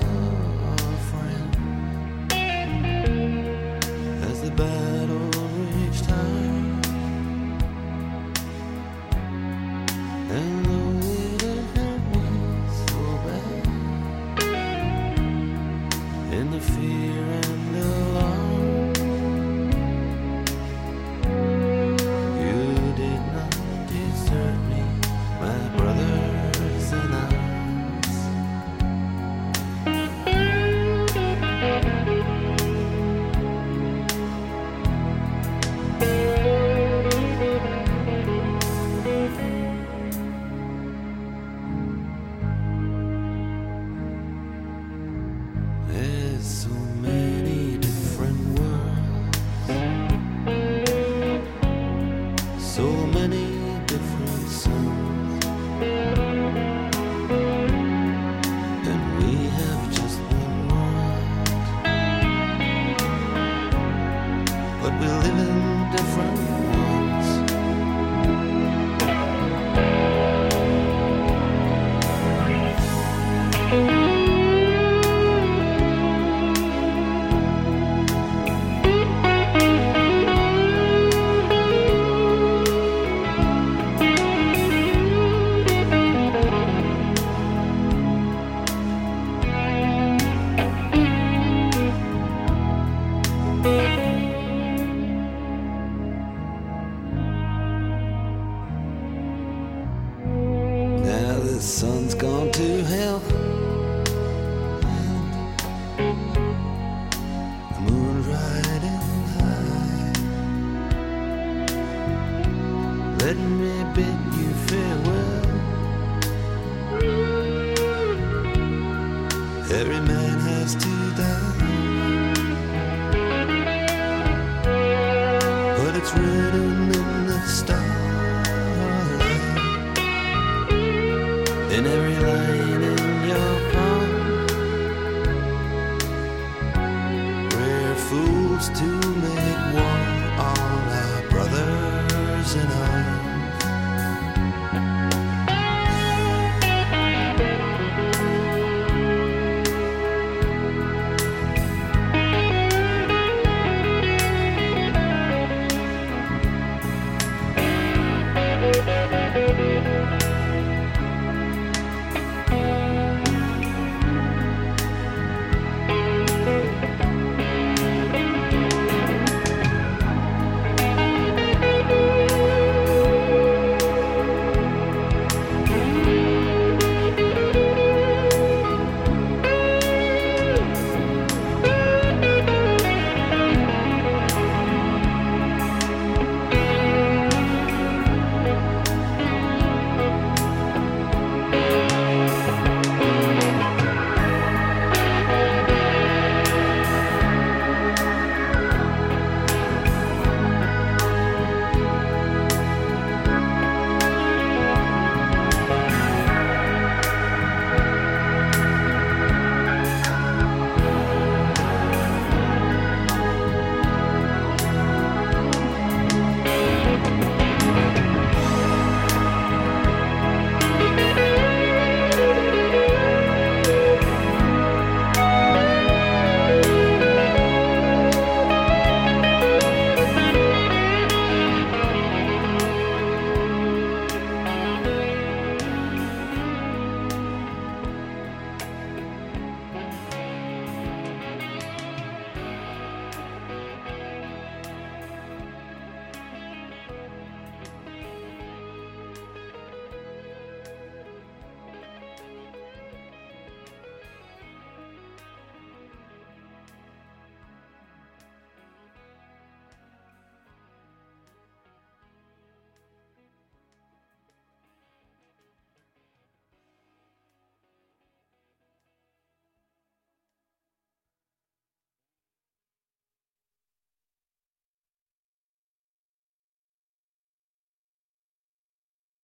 S11: as the battle reached high. And though it hurt me so bad, in the fear and alarm, you did not desert me, my brothers in arms. There's so many different worlds, so many different suns, and we have just one world. But we live in different worlds. Now the sun's gone to hell. And the moon riding high. Let me bid you farewell. Every man has to die. But it's written in the starlight in every line